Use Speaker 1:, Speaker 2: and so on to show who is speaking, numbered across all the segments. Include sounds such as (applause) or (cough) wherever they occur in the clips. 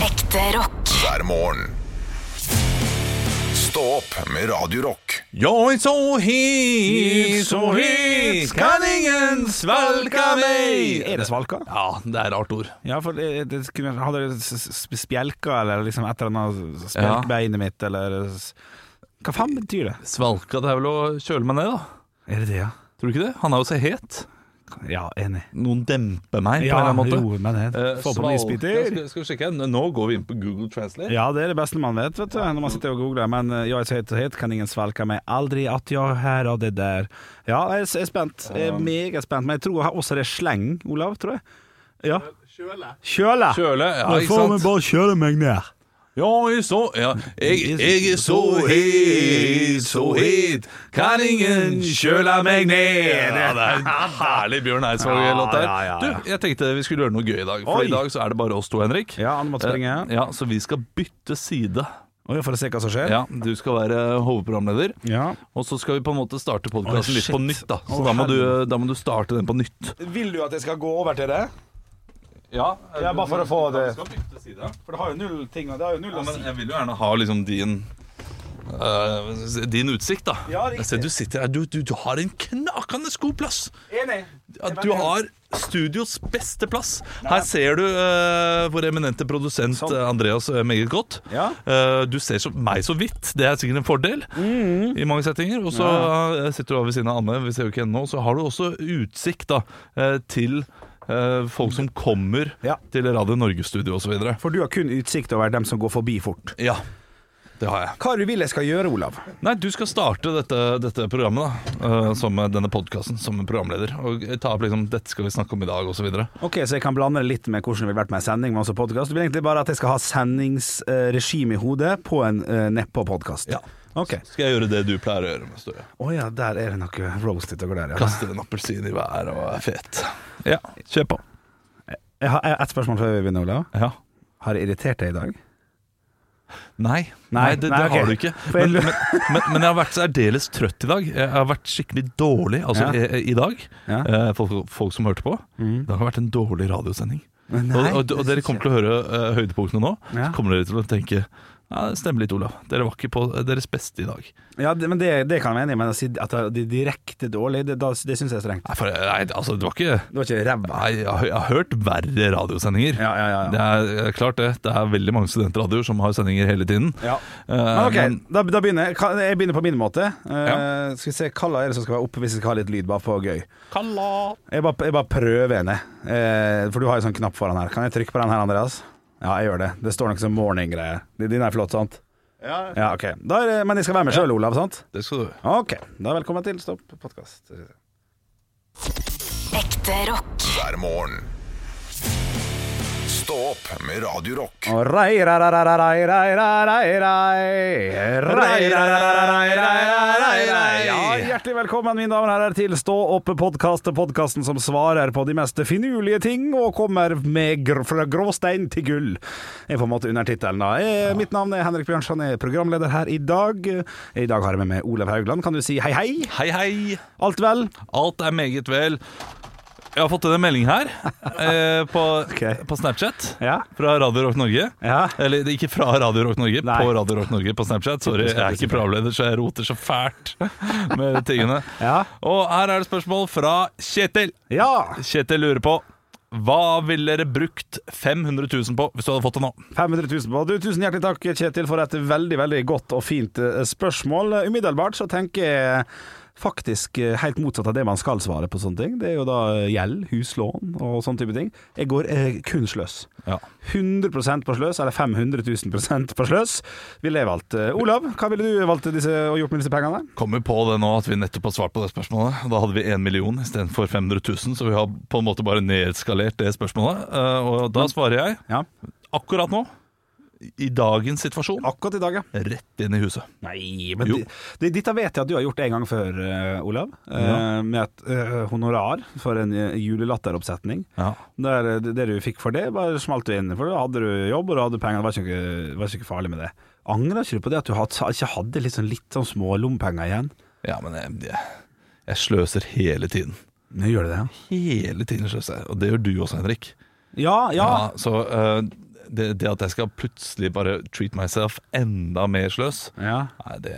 Speaker 1: Ekte rock.
Speaker 2: hver morgen. Stå opp med Radio Rock.
Speaker 3: Jeg så hit, så hit, kan ingen svalke meg
Speaker 4: Er det svalka?
Speaker 3: Ja, det er rart ord.
Speaker 4: Ja, for det, det kunne, hadde det s- s- spjelka eller liksom et eller annet
Speaker 3: Ja.
Speaker 4: spjelk beinet mitt, eller s- Hva faen betyr det?
Speaker 3: Svalka, det er vel å kjøle meg ned, da.
Speaker 4: Er det det, ja?
Speaker 3: Tror du ikke det? Han er jo så het.
Speaker 4: Ja, enig.
Speaker 3: Noen demper meg på en
Speaker 4: Ja,
Speaker 3: eller annen måte.
Speaker 4: roer meg ned.
Speaker 3: Eh,
Speaker 4: Få på
Speaker 3: svalka-
Speaker 4: en isbiter.
Speaker 3: Skal, skal vi sjekke? Nå går vi inn på Google Translate.
Speaker 4: Ja, det er det beste man vet, vet du, når man sitter og googler. Men eh, jeg er så het og het, kan ingen svelke meg. Aldri at jeg hører det der. Ja, jeg er s- jeg er spent. Jeg er meget spent. Men jeg tror også det er sleng, Olav, tror jeg. Ja. Kjøle. Kjøle.
Speaker 3: Kjøle, ja, ikke sant?
Speaker 4: bare kjøle meg ned.
Speaker 3: Ja, jeg så ja. jeg, jeg er så het, så het, kan ingen kjøle meg ned. Ja, det er en herlig Bjørn Eidsvåg-låt der.
Speaker 4: Ja, ja, ja, ja.
Speaker 3: Du, jeg tenkte vi skulle gjøre noe gøy i dag, for
Speaker 4: Oi.
Speaker 3: i dag så er det bare oss to, Henrik.
Speaker 4: Ja, han måtte springe.
Speaker 3: Eh, Ja, Så vi skal bytte side.
Speaker 4: Og for å se hva som skjer.
Speaker 3: Ja, Du skal være hovedprogramleder,
Speaker 4: Ja.
Speaker 3: og så skal vi på en måte starte
Speaker 4: Oi,
Speaker 3: podkasten litt
Speaker 4: shit.
Speaker 3: på nytt. da Så
Speaker 4: Å,
Speaker 3: da, må du,
Speaker 4: helvete.
Speaker 3: da må du starte den på nytt.
Speaker 4: Vil du at jeg skal gå over til det?
Speaker 3: Ja, eh,
Speaker 4: Ja, bare for å få det.
Speaker 3: skal bytte side.
Speaker 4: For det har jo null ting. og Det har jo null
Speaker 3: Ja,
Speaker 4: å
Speaker 3: men
Speaker 4: si.
Speaker 3: jeg vil jo gjerne ha liksom din eh, din utsikt, da.
Speaker 4: Ja, riktig.
Speaker 3: Jeg ser du sitter her. Du, du, du har en knakende god plass.
Speaker 4: Enig.
Speaker 3: At du har studios beste plass. Her ser du eh, vår eminente produsent
Speaker 4: Sånn.
Speaker 3: eh, Andreas eh, meget godt.
Speaker 4: Ja.
Speaker 3: Eh, du ser så, meg så vidt. Det er sikkert en fordel
Speaker 4: Mm.
Speaker 3: i mange settinger. Og så eh, sitter du da ved siden av Anne, vi ser jo ikke henne nå. Så har du også utsikt da eh, til eh, folk som kommer
Speaker 4: Ja.
Speaker 3: til Radio Norge-studio osv.
Speaker 4: For du har kun utsikt over dem som går forbi fort.
Speaker 3: Ja, det har jeg.
Speaker 4: Hva du vil jeg skal gjøre, Olav?
Speaker 3: Nei, du skal starte dette, dette programmet da, eh, som denne podcasten, som programleder, og ta opp liksom, dette skal vi snakke om i dag, og så videre.
Speaker 4: Ok, Så jeg kan blande det litt med hvordan det ville vært med en sending, men også podkast. Du vil egentlig bare at jeg skal ha sendingsregime i hodet på en uh, nedpå-podkast.
Speaker 3: Ja.
Speaker 4: Ok.
Speaker 3: Skal jeg gjøre det du pleier å gjøre, Støre?
Speaker 4: Å ja, der er det eh, noe roast utafor der, ja.
Speaker 3: Kaste en appelsin i været og er fet. Ja, kjør på.
Speaker 4: Jeg har jeg har ett spørsmål før vi begynner, Olav.
Speaker 3: Ja.
Speaker 4: Har jeg irritert deg i dag?
Speaker 3: Nei,
Speaker 4: Nei,
Speaker 3: det, det
Speaker 4: nei, ok.
Speaker 3: har du ikke.
Speaker 4: For jeg
Speaker 3: Men,
Speaker 4: lu-
Speaker 3: men, men, men jeg har vært særdeles trøtt i dag. Jeg har vært skikkelig dårlig altså,
Speaker 4: Ja.
Speaker 3: i, i dag.
Speaker 4: Ja.
Speaker 3: Eh, Folk, folk som hørte på. Det har vært en dårlig radiosending.
Speaker 4: Men
Speaker 3: og,
Speaker 4: nei,
Speaker 3: og, og dere kommer til å høre eh, høydepunktene nå. Så
Speaker 4: Ja.
Speaker 3: kommer dere til å tenke ja, det stemmer litt, Olav. Dere var ikke på deres beste i dag.
Speaker 4: Ja, det, men det, det kan jeg være enig i, men å si at det er direkte dårlig, det, da- det syns jeg er strengt.
Speaker 3: Nei, for, nei altså, det var ikke
Speaker 4: Det var ikke ræva.
Speaker 3: Nei, jeg, har- jeg har hørt verre radiosendinger.
Speaker 4: Ja, ja, ja, ja.
Speaker 3: Det er, eh, klart det. Det er veldig mange studentradioer som har sendinger hele tiden.
Speaker 4: Ja.
Speaker 3: Eh,
Speaker 4: Men ok,
Speaker 3: men-
Speaker 4: da, da begynner jeg. Kan- Jeg begynner på min måte. Eh,
Speaker 3: Ja.
Speaker 4: Skal vi se, Kalla er det som skal være oppe hvis vi skal ha litt lyd, bare for gøy. Jeg bare, jeg bare prøver henne, eh, for du har jo sånn knapp foran her. Kan jeg trykke på den her, Andreas? Ja, jeg gjør det. Det står noe sånn morning-greier. Din er flott, sant? Ja. ok. Da er det, men jeg skal være med sjøl, Olav, sant?
Speaker 3: Det skal du
Speaker 4: Ok. Da velkommen til Stopp podkast.
Speaker 1: Ekte rock.
Speaker 2: hver morgen. Stå opp med Radio Rock.
Speaker 4: Og rei, rei, rei, rei, rei, rei, rei, rei, rei, rei, rei, rei, rei, rei, rei. Ja, hjertelig velkommen, mine damer og herrer, til Stå opp-podkast, podkasten som svarer på de mest finurlige ting og kommer med gr fra gråstein til gull. Det er på en måte undertittelen, da. Eh, Mitt navn er Henrik Bjørnson, jeg er programleder her i dag. I dag har jeg med meg Olav Haugland. Kan du si hei, hei?
Speaker 3: Hei, hei.
Speaker 4: Alt vel?
Speaker 3: Alt er meget vel. Jeg har fått inn en melding
Speaker 4: (laughs)
Speaker 3: her eh, på,
Speaker 4: Ok.
Speaker 3: på Snapchat
Speaker 4: Ja.
Speaker 3: fra Radio Rock Norge.
Speaker 4: Ja.
Speaker 3: Eller det er ikke fra Radio Rock Norge,
Speaker 4: Nei.
Speaker 3: på Radio Rock Norge på Snapchat. Sorry, jeg er ikke programleder, så jeg roter så fælt med tingene.
Speaker 4: (laughs) Ja.
Speaker 3: Og her er det spørsmål fra Kjetil.
Speaker 4: Ja.
Speaker 3: Kjetil lurer på hva ville dere brukt 500 000 på hvis du hadde fått det nå?
Speaker 4: 500 000 på. Du, tusen hjertelig takk, Kjetil, for et veldig veldig godt og fint eh, spørsmål. Umiddelbart så tenker jeg faktisk eh, helt motsatt av det man skal svare på sånne ting. Det er jo da eh, gjeld, huslån og sånne type ting. Jeg går eh, kun sløs.
Speaker 3: Ja.
Speaker 4: 100 på sløs, eller 500 000 på sløs, ville jeg valgt. Eh, Olav, hva ville du valgt disse, og gjort med disse pengene?
Speaker 3: Kommer på det nå at vi nettopp har svart på det spørsmålet. Da hadde vi 1 million istedenfor 500 000, så vi har på en måte bare nedskalert det spørsmålet. Eh, Og da svarer jeg
Speaker 4: Ja,
Speaker 3: akkurat nå, i dagens situasjon,
Speaker 4: Akkurat i dag, ja.
Speaker 3: rett inn i huset.
Speaker 4: Nei, men
Speaker 3: Jo.
Speaker 4: di- di- dette vet jeg at du har gjort en gang før, eh, Olav. Eh, Med et eh, honorar for en eh, julelatteroppsetning.
Speaker 3: Ja.
Speaker 4: Der, eh, det, det du fikk for det, bare smalt du inn. For da hadde du jobb og da hadde du penger. Det var ikke, noe- var ikke farlig med det. Angrer ikke du på det at du hadde, ikke hadde litt sånn, litt sånn små lommepenger igjen?
Speaker 3: men jeg, jeg, jeg sløser hele tiden.
Speaker 4: Nå gjør du det, ja.
Speaker 3: Hele tiden sløser jeg, og det gjør du også, Henrik.
Speaker 4: Ja, ja.
Speaker 3: Ja, så eh, det, det at jeg skal plutselig bare treat myself enda mer sløs
Speaker 4: Ja.
Speaker 3: Nei, det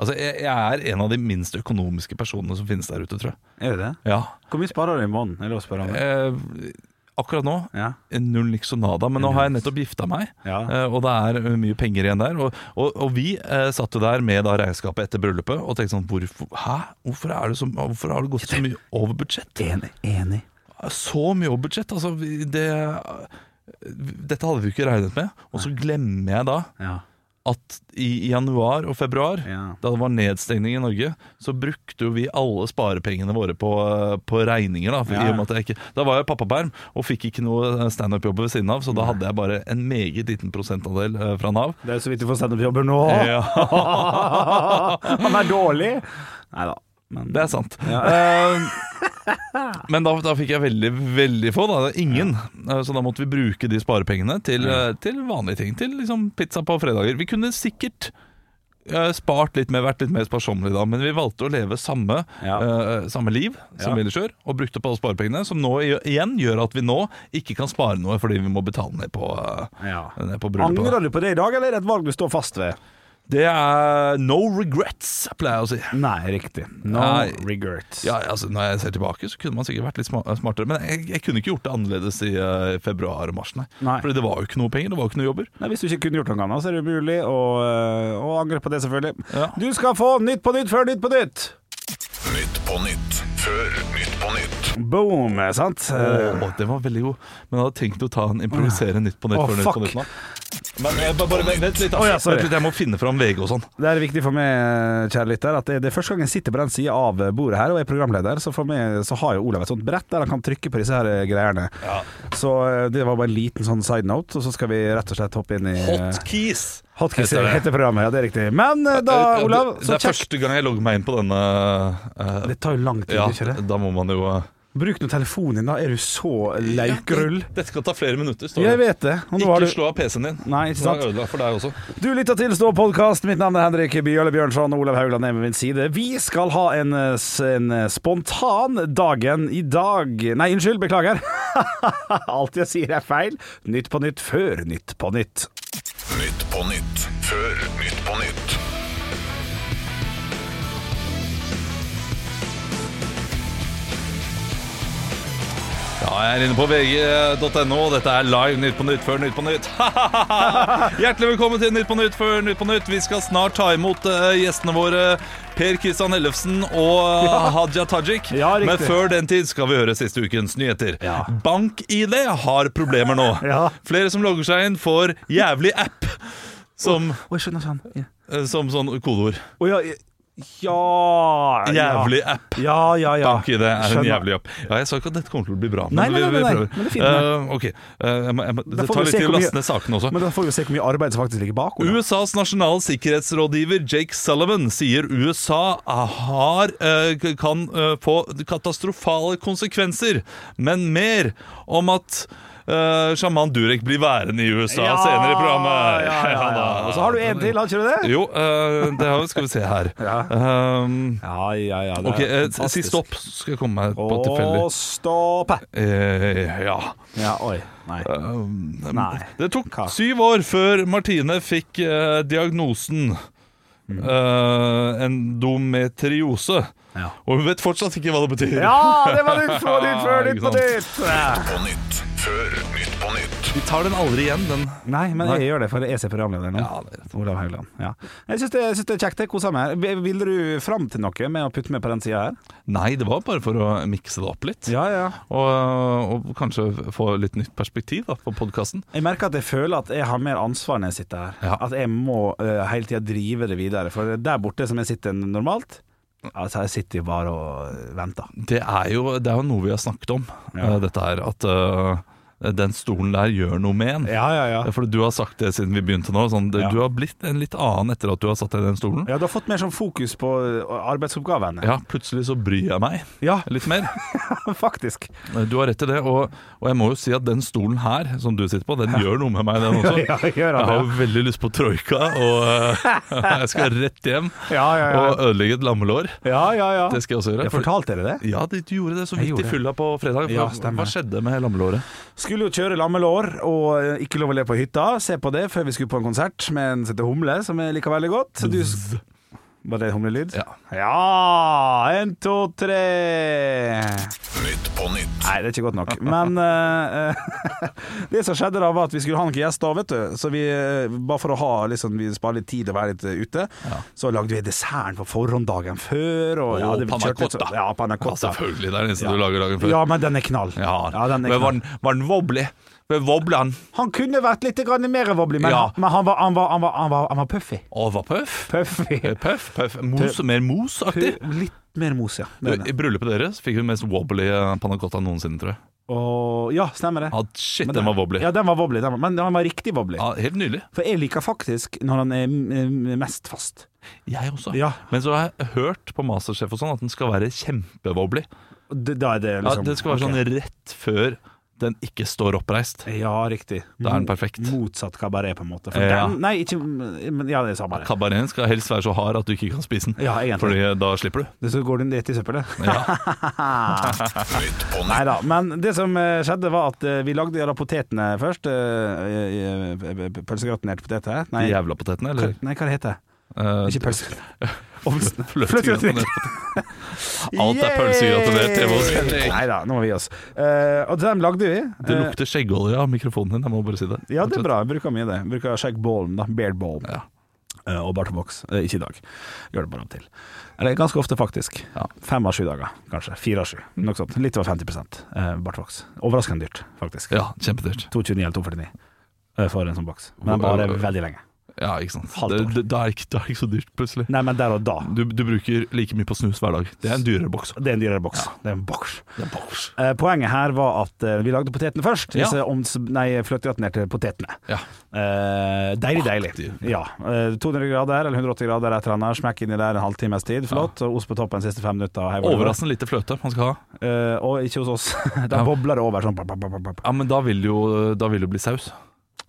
Speaker 3: Altså, jeg, jeg er en av de minst økonomiske personene som finnes der ute, tror jeg.
Speaker 4: Er det det?
Speaker 3: Ja.
Speaker 4: Hvor mye sparer du i måneden? Er det lov å spørre om det?
Speaker 3: Eh, akkurat nå
Speaker 4: Ja.
Speaker 3: Null niksonada, men nå har jeg nettopp gifta meg,
Speaker 4: Ja.
Speaker 3: eh, og det er eh, mye penger igjen der. Og, og, og vi eh, satt jo der med da regnskapet etter bryllupet og tenkte sånn Hvorfor, hæ? Hvorfor, er det så, hvorfor har det gått så mye over budsjett?
Speaker 4: Enig. enig.
Speaker 3: Så mye over budsjett, altså vi- det, Dette hadde vi jo ikke regnet med. Og så glemmer jeg da
Speaker 4: Ja.
Speaker 3: at i i januar og februar,
Speaker 4: Ja.
Speaker 3: da det var nedstengning i Norge, så brukte jo vi alle sparepengene våre på, på regninger. Da, for
Speaker 4: Ja.
Speaker 3: i og med at jeg ikke, da var jeg pappaperm og fikk ikke noe standup-jobb ved siden av, så da hadde jeg bare en meget liten prosentandel eh, fra Nav.
Speaker 4: Det er jo så vidt du får standup-jobber nå.
Speaker 3: Ja,
Speaker 4: (laughs) Han er dårlig! Nei da. Men
Speaker 3: det er sant. Eh, Men da, da fikk jeg veldig, veldig få. da, Ingen. Eh, Så da måtte vi bruke de sparepengene til, eh, til vanlige ting. Til liksom pizza på fredager. Vi kunne sikkert eh, spart litt mer, vært litt mer sparsommelige da, men vi valgte å leve samme,
Speaker 4: Ja.
Speaker 3: eh, samme liv som
Speaker 4: Ja.
Speaker 3: vi ellers gjør, og brukte opp alle sparepengene, som nå i- igjen gjør at vi nå ikke kan spare noe fordi vi må betale ned på, eh,
Speaker 4: Ja.
Speaker 3: ned på bryllupet.
Speaker 4: Angrer du på det i dag, eller er det et valg du står fast ved?
Speaker 3: Det er no regrets, pleier jeg å si.
Speaker 4: Nei, riktig. No
Speaker 3: Nei.
Speaker 4: regrets.
Speaker 3: Ja, altså Når jeg ser tilbake, så kunne man sikkert vært litt sma- eh, smartere. Men jeg, jeg kunne ikke gjort det annerledes i eh, februar og mars, nei.
Speaker 4: Nei.
Speaker 3: Fordi det var jo ikke noe penger, det var jo ikke noe jobber.
Speaker 4: Nei, Hvis du ikke kunne gjort noe annet, så er det umulig å, øh, å angre på det, selvfølgelig.
Speaker 3: Ja.
Speaker 4: Du skal få Nytt på nytt før Nytt på nytt!
Speaker 2: Nytt på nytt. Før Nytt på nytt.
Speaker 4: Boom, eh, sant?
Speaker 3: Åh, det var veldig god. Men jeg hadde tenkt å ta en improvisere Nytt på Nytt
Speaker 4: Åh,
Speaker 3: før Nytt
Speaker 4: fuck.
Speaker 3: på Nytt nå. Men eh, bare, bare vent vent litt, da.
Speaker 4: Åh, ja, sorry.
Speaker 3: vent litt, jeg må finne fram VG og sånn.
Speaker 4: Det er viktig for meg, eh, kjære lytter, at det det er første gang jeg sitter på den sida av bordet her og er programleder, så for meg så har jo Olav et sånt brett der han kan trykke på disse her eh, greiene. Så eh, det var bare en liten sånn side note, og så skal vi rett og slett hoppe inn i eh,
Speaker 3: Hotkeys!
Speaker 4: Hotkiss
Speaker 3: heter det.
Speaker 4: heter programmet, ja det er riktig. Men eh, da,
Speaker 3: Eh,
Speaker 4: Olav,
Speaker 3: det, det
Speaker 4: så
Speaker 3: er
Speaker 4: kjekt.
Speaker 3: første gang jeg logger meg inn på denne eh,
Speaker 4: Det tar jo lang tid,
Speaker 3: Ja,
Speaker 4: ikke det?
Speaker 3: da må man jo eh,
Speaker 4: Bruk nå telefonen din, da er du så laukrull.
Speaker 3: Dette skal ta flere minutter, står
Speaker 4: Jeg
Speaker 3: det.
Speaker 4: vet det. Og nå har
Speaker 3: Ikke
Speaker 4: du...
Speaker 3: slå av PC-en din.
Speaker 4: Nei, ikke
Speaker 3: Den
Speaker 4: sant?
Speaker 3: er ødelagt for deg også.
Speaker 4: Du lytter til Stå podkast. Mitt navn er Henrik Bjørle Bjørnson. Olav Haugland er ved min side. Vi skal ha en, eh, s- en eh, spontan dagen i dag Nei, unnskyld. Beklager. (laughs) Alt jeg sier er feil. Nytt på nytt før Nytt på nytt.
Speaker 2: Nytt på nytt. Før Nytt på nytt.
Speaker 3: Ja, jeg er inne på vg.no. Dette er live Nytt på Nytt før Nytt på Nytt. (laughs) Hjertelig velkommen til Nytt på Nytt før Nytt på Nytt. Vi skal snart ta imot eh, gjestene våre Per Kristian Ellefsen og
Speaker 4: (laughs)
Speaker 3: eh, Hadia Tajik.
Speaker 4: Ja, riktig.
Speaker 3: Men før den tid skal vi høre siste ukens nyheter.
Speaker 4: Ja.
Speaker 3: BankID har problemer nå.
Speaker 4: (laughs) Ja.
Speaker 3: Flere som logger seg inn, får jævlig app som,
Speaker 4: Å, jeg skjønner sånn. Ja.
Speaker 3: eh, som sånn kodeord.
Speaker 4: Å, ja, ja ja.
Speaker 3: Jævlig app.
Speaker 4: Ja, ja, ja.
Speaker 3: BankID er en
Speaker 4: Skjønner.
Speaker 3: jævlig app. Ja, jeg sa ikke at dette kommer til å bli bra,
Speaker 4: Nei, nei,
Speaker 3: vi-
Speaker 4: nei,
Speaker 3: vi
Speaker 4: nei,
Speaker 3: prøver.
Speaker 4: men det finner jeg.
Speaker 3: Eh, ok, Eh, jeg må, jeg må,
Speaker 4: Da
Speaker 3: Det
Speaker 4: får
Speaker 3: tar
Speaker 4: vi
Speaker 3: litt
Speaker 4: se
Speaker 3: tid å
Speaker 4: hvor mye-
Speaker 3: laste ned sakene også.
Speaker 4: Men da får vi se hvor mye arbeid som faktisk ligger bak. Olav.
Speaker 3: USAs nasjonale sikkerhetsrådgiver Jake Sullivan sier USA har, eh, k- kan eh, få katastrofale konsekvenser, men mer om at eh, sjaman Durek blir værende i USA senere i programmet.
Speaker 4: Ja,
Speaker 3: (laughs)
Speaker 4: ja, ja.
Speaker 3: da.
Speaker 4: Og så har du en til, har ikke du det?
Speaker 3: Jo, eh, det har vi. Skal vi se her.
Speaker 4: Ja.
Speaker 3: Um,
Speaker 4: Ja, ja, ja. det er
Speaker 3: ok, eh, si
Speaker 4: fantastisk.
Speaker 3: stopp, så skal jeg komme meg på
Speaker 4: Og
Speaker 3: tilfeldig.
Speaker 4: stopp.
Speaker 3: Eh, ja.
Speaker 4: Ja, oi. Nei. Nei.
Speaker 3: Um, Det tok
Speaker 4: Hva?
Speaker 3: syv år før Martine fikk eh, diagnosen
Speaker 4: Mm.
Speaker 3: eh, endometriose.
Speaker 4: Ja.
Speaker 3: Og hun vet fortsatt ikke hva det betyr.
Speaker 4: Ja, det var nytt før nytt før nytt på (laughs) nytt!
Speaker 2: På nytt. Før Nytt på nytt.
Speaker 3: Vi tar den aldri igjen, den.
Speaker 4: Nei, men jeg gjør det, for jeg er programleder nå.
Speaker 3: Ja, det er rett.
Speaker 4: Olav Haugland. Ja. Jeg syns det, jeg synes det er kjekt. Jeg koser meg. Vil- Vil du fram til noe med å putte med på den sida her?
Speaker 3: Nei, det var bare for å mikse det opp litt.
Speaker 4: Ja, ja.
Speaker 3: Og, eh, og kanskje få litt nytt perspektiv da, på podkasten.
Speaker 4: Jeg merker at jeg føler at jeg har mer ansvar når jeg sitter her.
Speaker 3: Ja.
Speaker 4: At jeg må eh, hele tida drive det videre. For der borte som jeg sitter normalt, altså jeg sitter jo bare og venter.
Speaker 3: Det er jo, det er jo noe vi har snakket om,
Speaker 4: Ja.
Speaker 3: eh, dette her. At eh, den stolen der gjør noe med en.
Speaker 4: Ja, ja, ja.
Speaker 3: For du har sagt det siden vi begynte nå. Sånn,
Speaker 4: Ja.
Speaker 3: Du har blitt en litt annen etter at du har satt deg i den stolen.
Speaker 4: Ja, Du har fått mer sånn fokus på eh, arbeidsoppgavene.
Speaker 3: Ja, plutselig så bryr jeg meg
Speaker 4: Ja,
Speaker 3: litt mer.
Speaker 4: (laughs)
Speaker 3: Eh,
Speaker 4: faktisk.
Speaker 3: Du har rett i det, og, og jeg må jo si at den stolen her som du sitter på, den gjør noe med meg,
Speaker 4: (laughs)
Speaker 3: den også.
Speaker 4: Ja, gjør
Speaker 3: Jeg
Speaker 4: han
Speaker 3: har
Speaker 4: det?
Speaker 3: jo veldig lyst på troika, og eh, (laughs) jeg skal rett hjem
Speaker 4: Ja, ja, ja.
Speaker 3: og ødelegge et lammelår.
Speaker 4: Ja, ja, ja.
Speaker 3: Det skal jeg også gjøre.
Speaker 4: Jeg fortalte dere det?
Speaker 3: ja, de- du gjorde det så
Speaker 4: Jeg
Speaker 3: vidt
Speaker 4: gjorde
Speaker 3: i
Speaker 4: det.
Speaker 3: fylla på fredag.
Speaker 4: Ja,
Speaker 3: Hva,
Speaker 4: stemmer.
Speaker 3: hva skjedde med lammelåret?
Speaker 4: Skulle jo kjøre lammelår og eh, ikke lov å le på hytta. Se på det før vi skulle på en konsert med en sette humle, som jeg liker veldig godt. Du, var det humlelyd?
Speaker 3: Ja.
Speaker 4: Ja! En, to, tre
Speaker 2: Nytt på nytt.
Speaker 4: Nei, det er ikke godt nok. Men eh, eh, (laughs) det som skjedde da, var at vi skulle ha noen gjester, vet du. Så vi, eh, bare for å ha liksom, vi spare litt tid og være litt eh, ute, så lagde vi desserten på forhånd dagen før. Og,
Speaker 3: Og
Speaker 4: det- vi
Speaker 3: panna
Speaker 4: kjørte litt så-
Speaker 3: cotta.
Speaker 4: Ja, panna
Speaker 3: Ja,
Speaker 4: cotta.
Speaker 3: selvfølgelig. Det er det eneste
Speaker 4: Ja.
Speaker 3: du lager dagen før.
Speaker 4: Ja, men den er knall.
Speaker 3: Ja,
Speaker 4: den er
Speaker 3: Men var
Speaker 4: knall.
Speaker 3: den, var den wobbly? Var Woblan?
Speaker 4: Han kunne vært litt grann mer wobbly, men,
Speaker 3: Ja.
Speaker 4: men han, var, han, var, han, var, han, var, han var puffy.
Speaker 3: Å, var puff?
Speaker 4: Puffy.
Speaker 3: Eh, Puff, puff. Mos, mer mos-aktig.
Speaker 4: Litt mer mos, ja.
Speaker 3: Du, I bryllupet deres fikk vi den mest wobbly eh, panna cotta noensinne, tror jeg.
Speaker 4: Og, ja, stemmer det.
Speaker 3: Ja, shit,
Speaker 4: Men
Speaker 3: den
Speaker 4: det-
Speaker 3: var wobbly.
Speaker 4: Ja, den var wobbly, den var, men han var riktig wobbly.
Speaker 3: Ja, helt nydelig.
Speaker 4: For jeg liker faktisk når han er mm, mest fast.
Speaker 3: Jeg også.
Speaker 4: Ja.
Speaker 3: Men så har jeg hørt på Masterchef og sånn at den skal være kjempewobbly.
Speaker 4: Og det- Da er det
Speaker 3: Ja,
Speaker 4: liksom
Speaker 3: det skal være
Speaker 4: ok.
Speaker 3: sånn rett før den ikke står oppreist.
Speaker 4: Ja, riktig.
Speaker 3: Da er den perfekt.
Speaker 4: Motsatt kabaret, på en måte. For
Speaker 3: Ja.
Speaker 4: den, nei, ikke men Ja, det er samme det.
Speaker 3: Kabareten skal helst være så hard at du ikke kan spise den.
Speaker 4: Ja, egentlig.
Speaker 3: Fordi da slipper du.
Speaker 4: Det så går den rett i søppelet.
Speaker 3: Ja. (laughs)
Speaker 2: Nytt på nytt.
Speaker 4: Nei da. Men det som eh, skjedde, var at eh, vi lagde da potetene først. eh, eh, eh, Pølsegratinerte poteter. Nei,
Speaker 3: De jævla potetene, eller?
Speaker 4: nei, hva det heter det?
Speaker 3: Eh,
Speaker 4: Ikke
Speaker 3: (laughs)
Speaker 4: pølse... Ovsen.
Speaker 3: Fløtegratinert. Alt er pølsegratinert hjemme hos Henrik.
Speaker 4: Nei da, nå må vi gi oss. Eh, og dem lagde vi.
Speaker 3: Det
Speaker 4: Eh,
Speaker 3: lukter skjeggolje av mikrofonen din, jeg må bare si det.
Speaker 4: Ja, det er bra. Jeg bruker mye det. Jeg bruker Shag Balm, da. Beard Balm.
Speaker 3: Ja.
Speaker 4: Eh, Og barteboks. Eh, Ikke i dag. Gjør det bare om til. Eller ganske ofte, faktisk.
Speaker 3: Ja.
Speaker 4: Fem av sju dager, kanskje. Fire av sju. Noe sånt. Litt over 50 eh, barteboks. Overraskende dyrt, faktisk.
Speaker 3: Ja, kjempedyrt.
Speaker 4: 229 eller 249 eh, for en sånn boks. Men den
Speaker 3: Hvor-
Speaker 4: varer veldig lenge.
Speaker 3: Ja, ikke sant.
Speaker 4: Halvt
Speaker 3: Det,
Speaker 4: år.
Speaker 3: det, det, er ikke, det er ikke så dyrt, plutselig.
Speaker 4: Nei, men der og da.
Speaker 3: Du, du bruker like mye på snus hver dag. Det er en dyrere boks.
Speaker 4: Det er en dyrere boks. Det er en boks.
Speaker 3: Det er boks.
Speaker 4: Eh, poenget her var at eh, vi lagde potetene først.
Speaker 3: Ja.
Speaker 4: Disse ovns... Nei, fløtegratinerte potetene.
Speaker 3: Ja.
Speaker 4: Eh, deilig, deilig.
Speaker 3: Aktiv.
Speaker 4: Ja. Eh, 200 grader eller 180 grader etter han Smekk inni der en halvtimes tid. Flott. Og ost på toppen siste fem minutter. hei, hvor det var.
Speaker 3: Overraskende lite fløte man skal ha.
Speaker 4: Eh, og ikke hos oss. (laughs) Da
Speaker 3: Ja.
Speaker 4: bobler det over sånn. pap, pap, pap, pap.
Speaker 3: Ja, men da vil det jo, da vil det bli saus.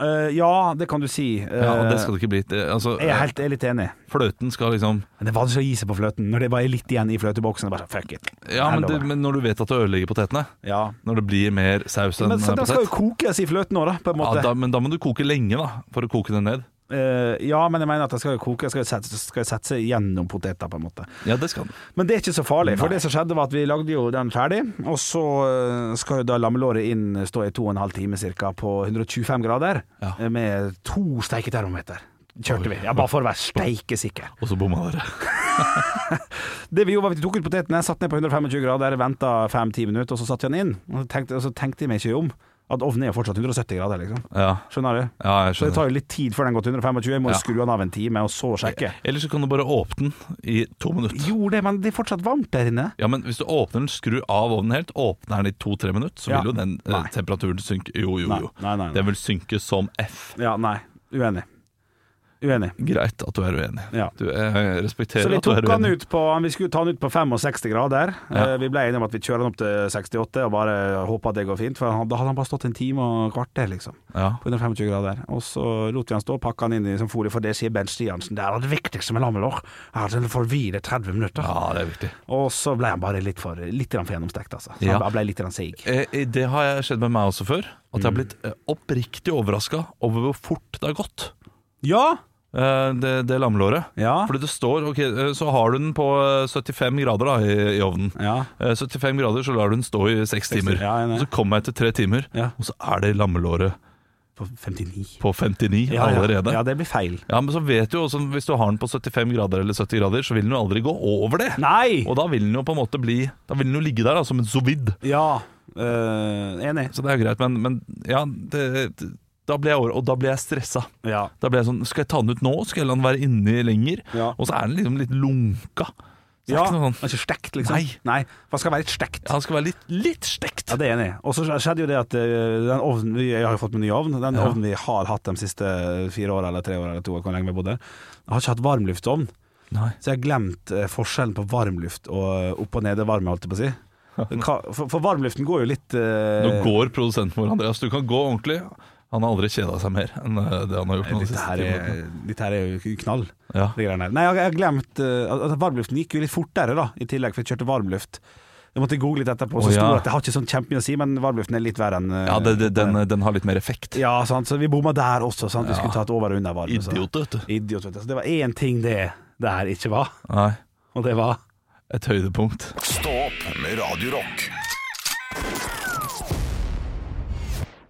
Speaker 4: Eh, ja, det kan du si. Eh,
Speaker 3: Ja, og det skal det ikke bli. Det, altså,
Speaker 4: jeg er helt jeg er litt enig.
Speaker 3: fløten skal liksom
Speaker 4: Men det er vanskelig å gi seg på fløten. Når det bare er litt igjen i fløteboksen. Det er bare sånn, fuck it.
Speaker 3: Ja, men, det,
Speaker 4: Helvete.
Speaker 3: men når du vet at du ødelegger potetene,
Speaker 4: ja.
Speaker 3: når det blir mer saus enn
Speaker 4: Men så den skal jo
Speaker 3: potet
Speaker 4: kokes i fløten òg, da, på en
Speaker 3: eh, ja,
Speaker 4: måte.
Speaker 3: da, Men da må du koke lenge, da, for å koke det ned.
Speaker 4: Eh, ja, men jeg mener at den skal jo koke, skal jo sette, skal jo sette seg gjennom poteter, på en måte.
Speaker 3: Ja, det skal den.
Speaker 4: Men det er ikke så farlig, for det som skjedde var at vi lagde jo den ferdig, og så eh, skal jo da lammelåret inn stå i to og en halv time cirka på 125 grader,
Speaker 3: Ja.
Speaker 4: eh, med to steiketermometer. Kjørte vi, ja, bare for å være steikesikker.
Speaker 3: Og så bomma dere.
Speaker 4: Det vi gjorde var at vi tok ut potetene, satt ned på 125 grader, ventet 5-10 minutter, og så satt vi den inn. Og så tenkte, og så tenkte jeg meg ikke om at ovnen er jo fortsatt 170 grader, liksom.
Speaker 3: Ja,
Speaker 4: Skjønner du?
Speaker 3: ja jeg
Speaker 4: Så det
Speaker 3: skjønner.
Speaker 4: tar jo litt tid før den går til 125, jeg må
Speaker 3: Ja.
Speaker 4: skru den av en time, og så sjekke.
Speaker 3: Eller så kan du bare åpne den i to minutter.
Speaker 4: Jo, det, men det er fortsatt varmt der inne.
Speaker 3: Ja, men hvis du åpner den, skrur av ovnen helt, åpner den i to-tre minutter, så
Speaker 4: Ja.
Speaker 3: vil jo den eh,
Speaker 4: Nei.
Speaker 3: temperaturen synke. Jo, jo, jo.
Speaker 4: Nei, nei, nei, nei.
Speaker 3: Den vil synke som F.
Speaker 4: Ja, nei. Uenig. Uenig.
Speaker 3: Greit at du er uenig.
Speaker 4: Ja.
Speaker 3: Du, jeg respekterer
Speaker 4: Så vi
Speaker 3: at du
Speaker 4: tok
Speaker 3: er
Speaker 4: han
Speaker 3: uenig.
Speaker 4: ut på Vi skulle ta han ut på 65 grader.
Speaker 3: Ja.
Speaker 4: Eh, Vi ble enige om at vi kjører han opp til 68 og bare håper at det går fint. For han, da hadde han bare stått en time og et kvarter, liksom.
Speaker 3: Ja.
Speaker 4: På 125 grader. Og så lot vi han stå, pakka han inn i som folie, for det sier Bent Stiansen. Det er det viktigste med lammelår. Er at den får hvile 30 minutter.
Speaker 3: ja, det er viktig.
Speaker 4: Og så ble han bare litt for Litt grann for gjennomstekt, altså. Så
Speaker 3: Ja.
Speaker 4: Han ble litt grann seig.
Speaker 3: Eh, Det har jeg skjedd med meg også før. At jeg
Speaker 4: Mm.
Speaker 3: har blitt eh, oppriktig overraska over hvor fort det har gått,
Speaker 4: Ja!
Speaker 3: eh, det, det lammelåret.
Speaker 4: Ja.
Speaker 3: Fordi det står Ok, eh, så har du den på eh, 75 grader da i, i ovnen.
Speaker 4: Ja.
Speaker 3: Eh, 75 grader, så lar du den stå i seks timer.
Speaker 4: Ja, jeg er enig.
Speaker 3: Og så kommer jeg etter tre timer,
Speaker 4: Ja.
Speaker 3: og så er det lammelåret
Speaker 4: På 59.
Speaker 3: på 59 allerede.
Speaker 4: Ja, det blir feil.
Speaker 3: Ja, men så vet du jo også Hvis du har den på 75 grader eller 70 grader, så vil den jo aldri gå over det.
Speaker 4: Nei!
Speaker 3: Og da vil den jo på en måte bli Da vil den jo ligge der da, som en sovid.
Speaker 4: Ja. eh, enig.
Speaker 3: Så det er jo greit, men, men ja det, det- da ble jeg over, Og da ble jeg stressa.
Speaker 4: Ja.
Speaker 3: Da ble jeg sånn Skal jeg ta den ut nå? Skal jeg la den være inni lenger?
Speaker 4: Ja.
Speaker 3: Og så er den liksom litt lunka. Så det er
Speaker 4: Ja,
Speaker 3: ikke noe sånn
Speaker 4: det er ikke stekt, liksom.
Speaker 3: Nei.
Speaker 4: For det skal være litt stekt.
Speaker 3: ja, Han skal være litt, litt stekt.
Speaker 4: Ja, det er jeg enig. i. Og så skjedde jo det at eh, den ovnen vi, Jeg har jo fått meg ny ovn. Den
Speaker 3: Ja.
Speaker 4: ovnen vi har hatt de siste fire åra eller tre åra eller to, hvor lenge vi bodde her, jeg har ikke hatt varmluftsovn.
Speaker 3: Nei.
Speaker 4: Så jeg har glemt eh, forskjellen på varmluft og eh, opp- og nede-varme, holdt jeg på å
Speaker 3: (laughs)
Speaker 4: si. Hva, for, for varmluften går jo litt eh,
Speaker 3: Nå går produsenten vår, Andreas. Du kan gå ordentlig. Han har aldri kjeda seg mer enn eh, det han har gjort nå de
Speaker 4: Dette
Speaker 3: siste
Speaker 4: her,
Speaker 3: ti
Speaker 4: er,
Speaker 3: minuttene.
Speaker 4: dette her er jo knall.
Speaker 3: Ja.
Speaker 4: de greiene her. Nei, jeg jeg har glemt eh, at at varmluften gikk jo litt fortere, da, i tillegg, for jeg kjørte varmluft Jeg måtte google litt etterpå,
Speaker 3: Å,
Speaker 4: så sto
Speaker 3: ja.
Speaker 4: det at det har ikke sånn kjempemye å si, men varbluften er litt verre enn eh,
Speaker 3: Ja, det, det, den, den har litt mer effekt.
Speaker 4: ja, sant, så vi bomma der også, sant. Vi skulle
Speaker 3: Ja.
Speaker 4: tatt over og under varme. så-
Speaker 3: Idiot, vet du.
Speaker 4: Idiot, vet du. Så det var én ting det der ikke var, (laughs)
Speaker 3: Nei.
Speaker 4: og det var
Speaker 3: Et høydepunkt.
Speaker 2: Stå opp med Radio Rock.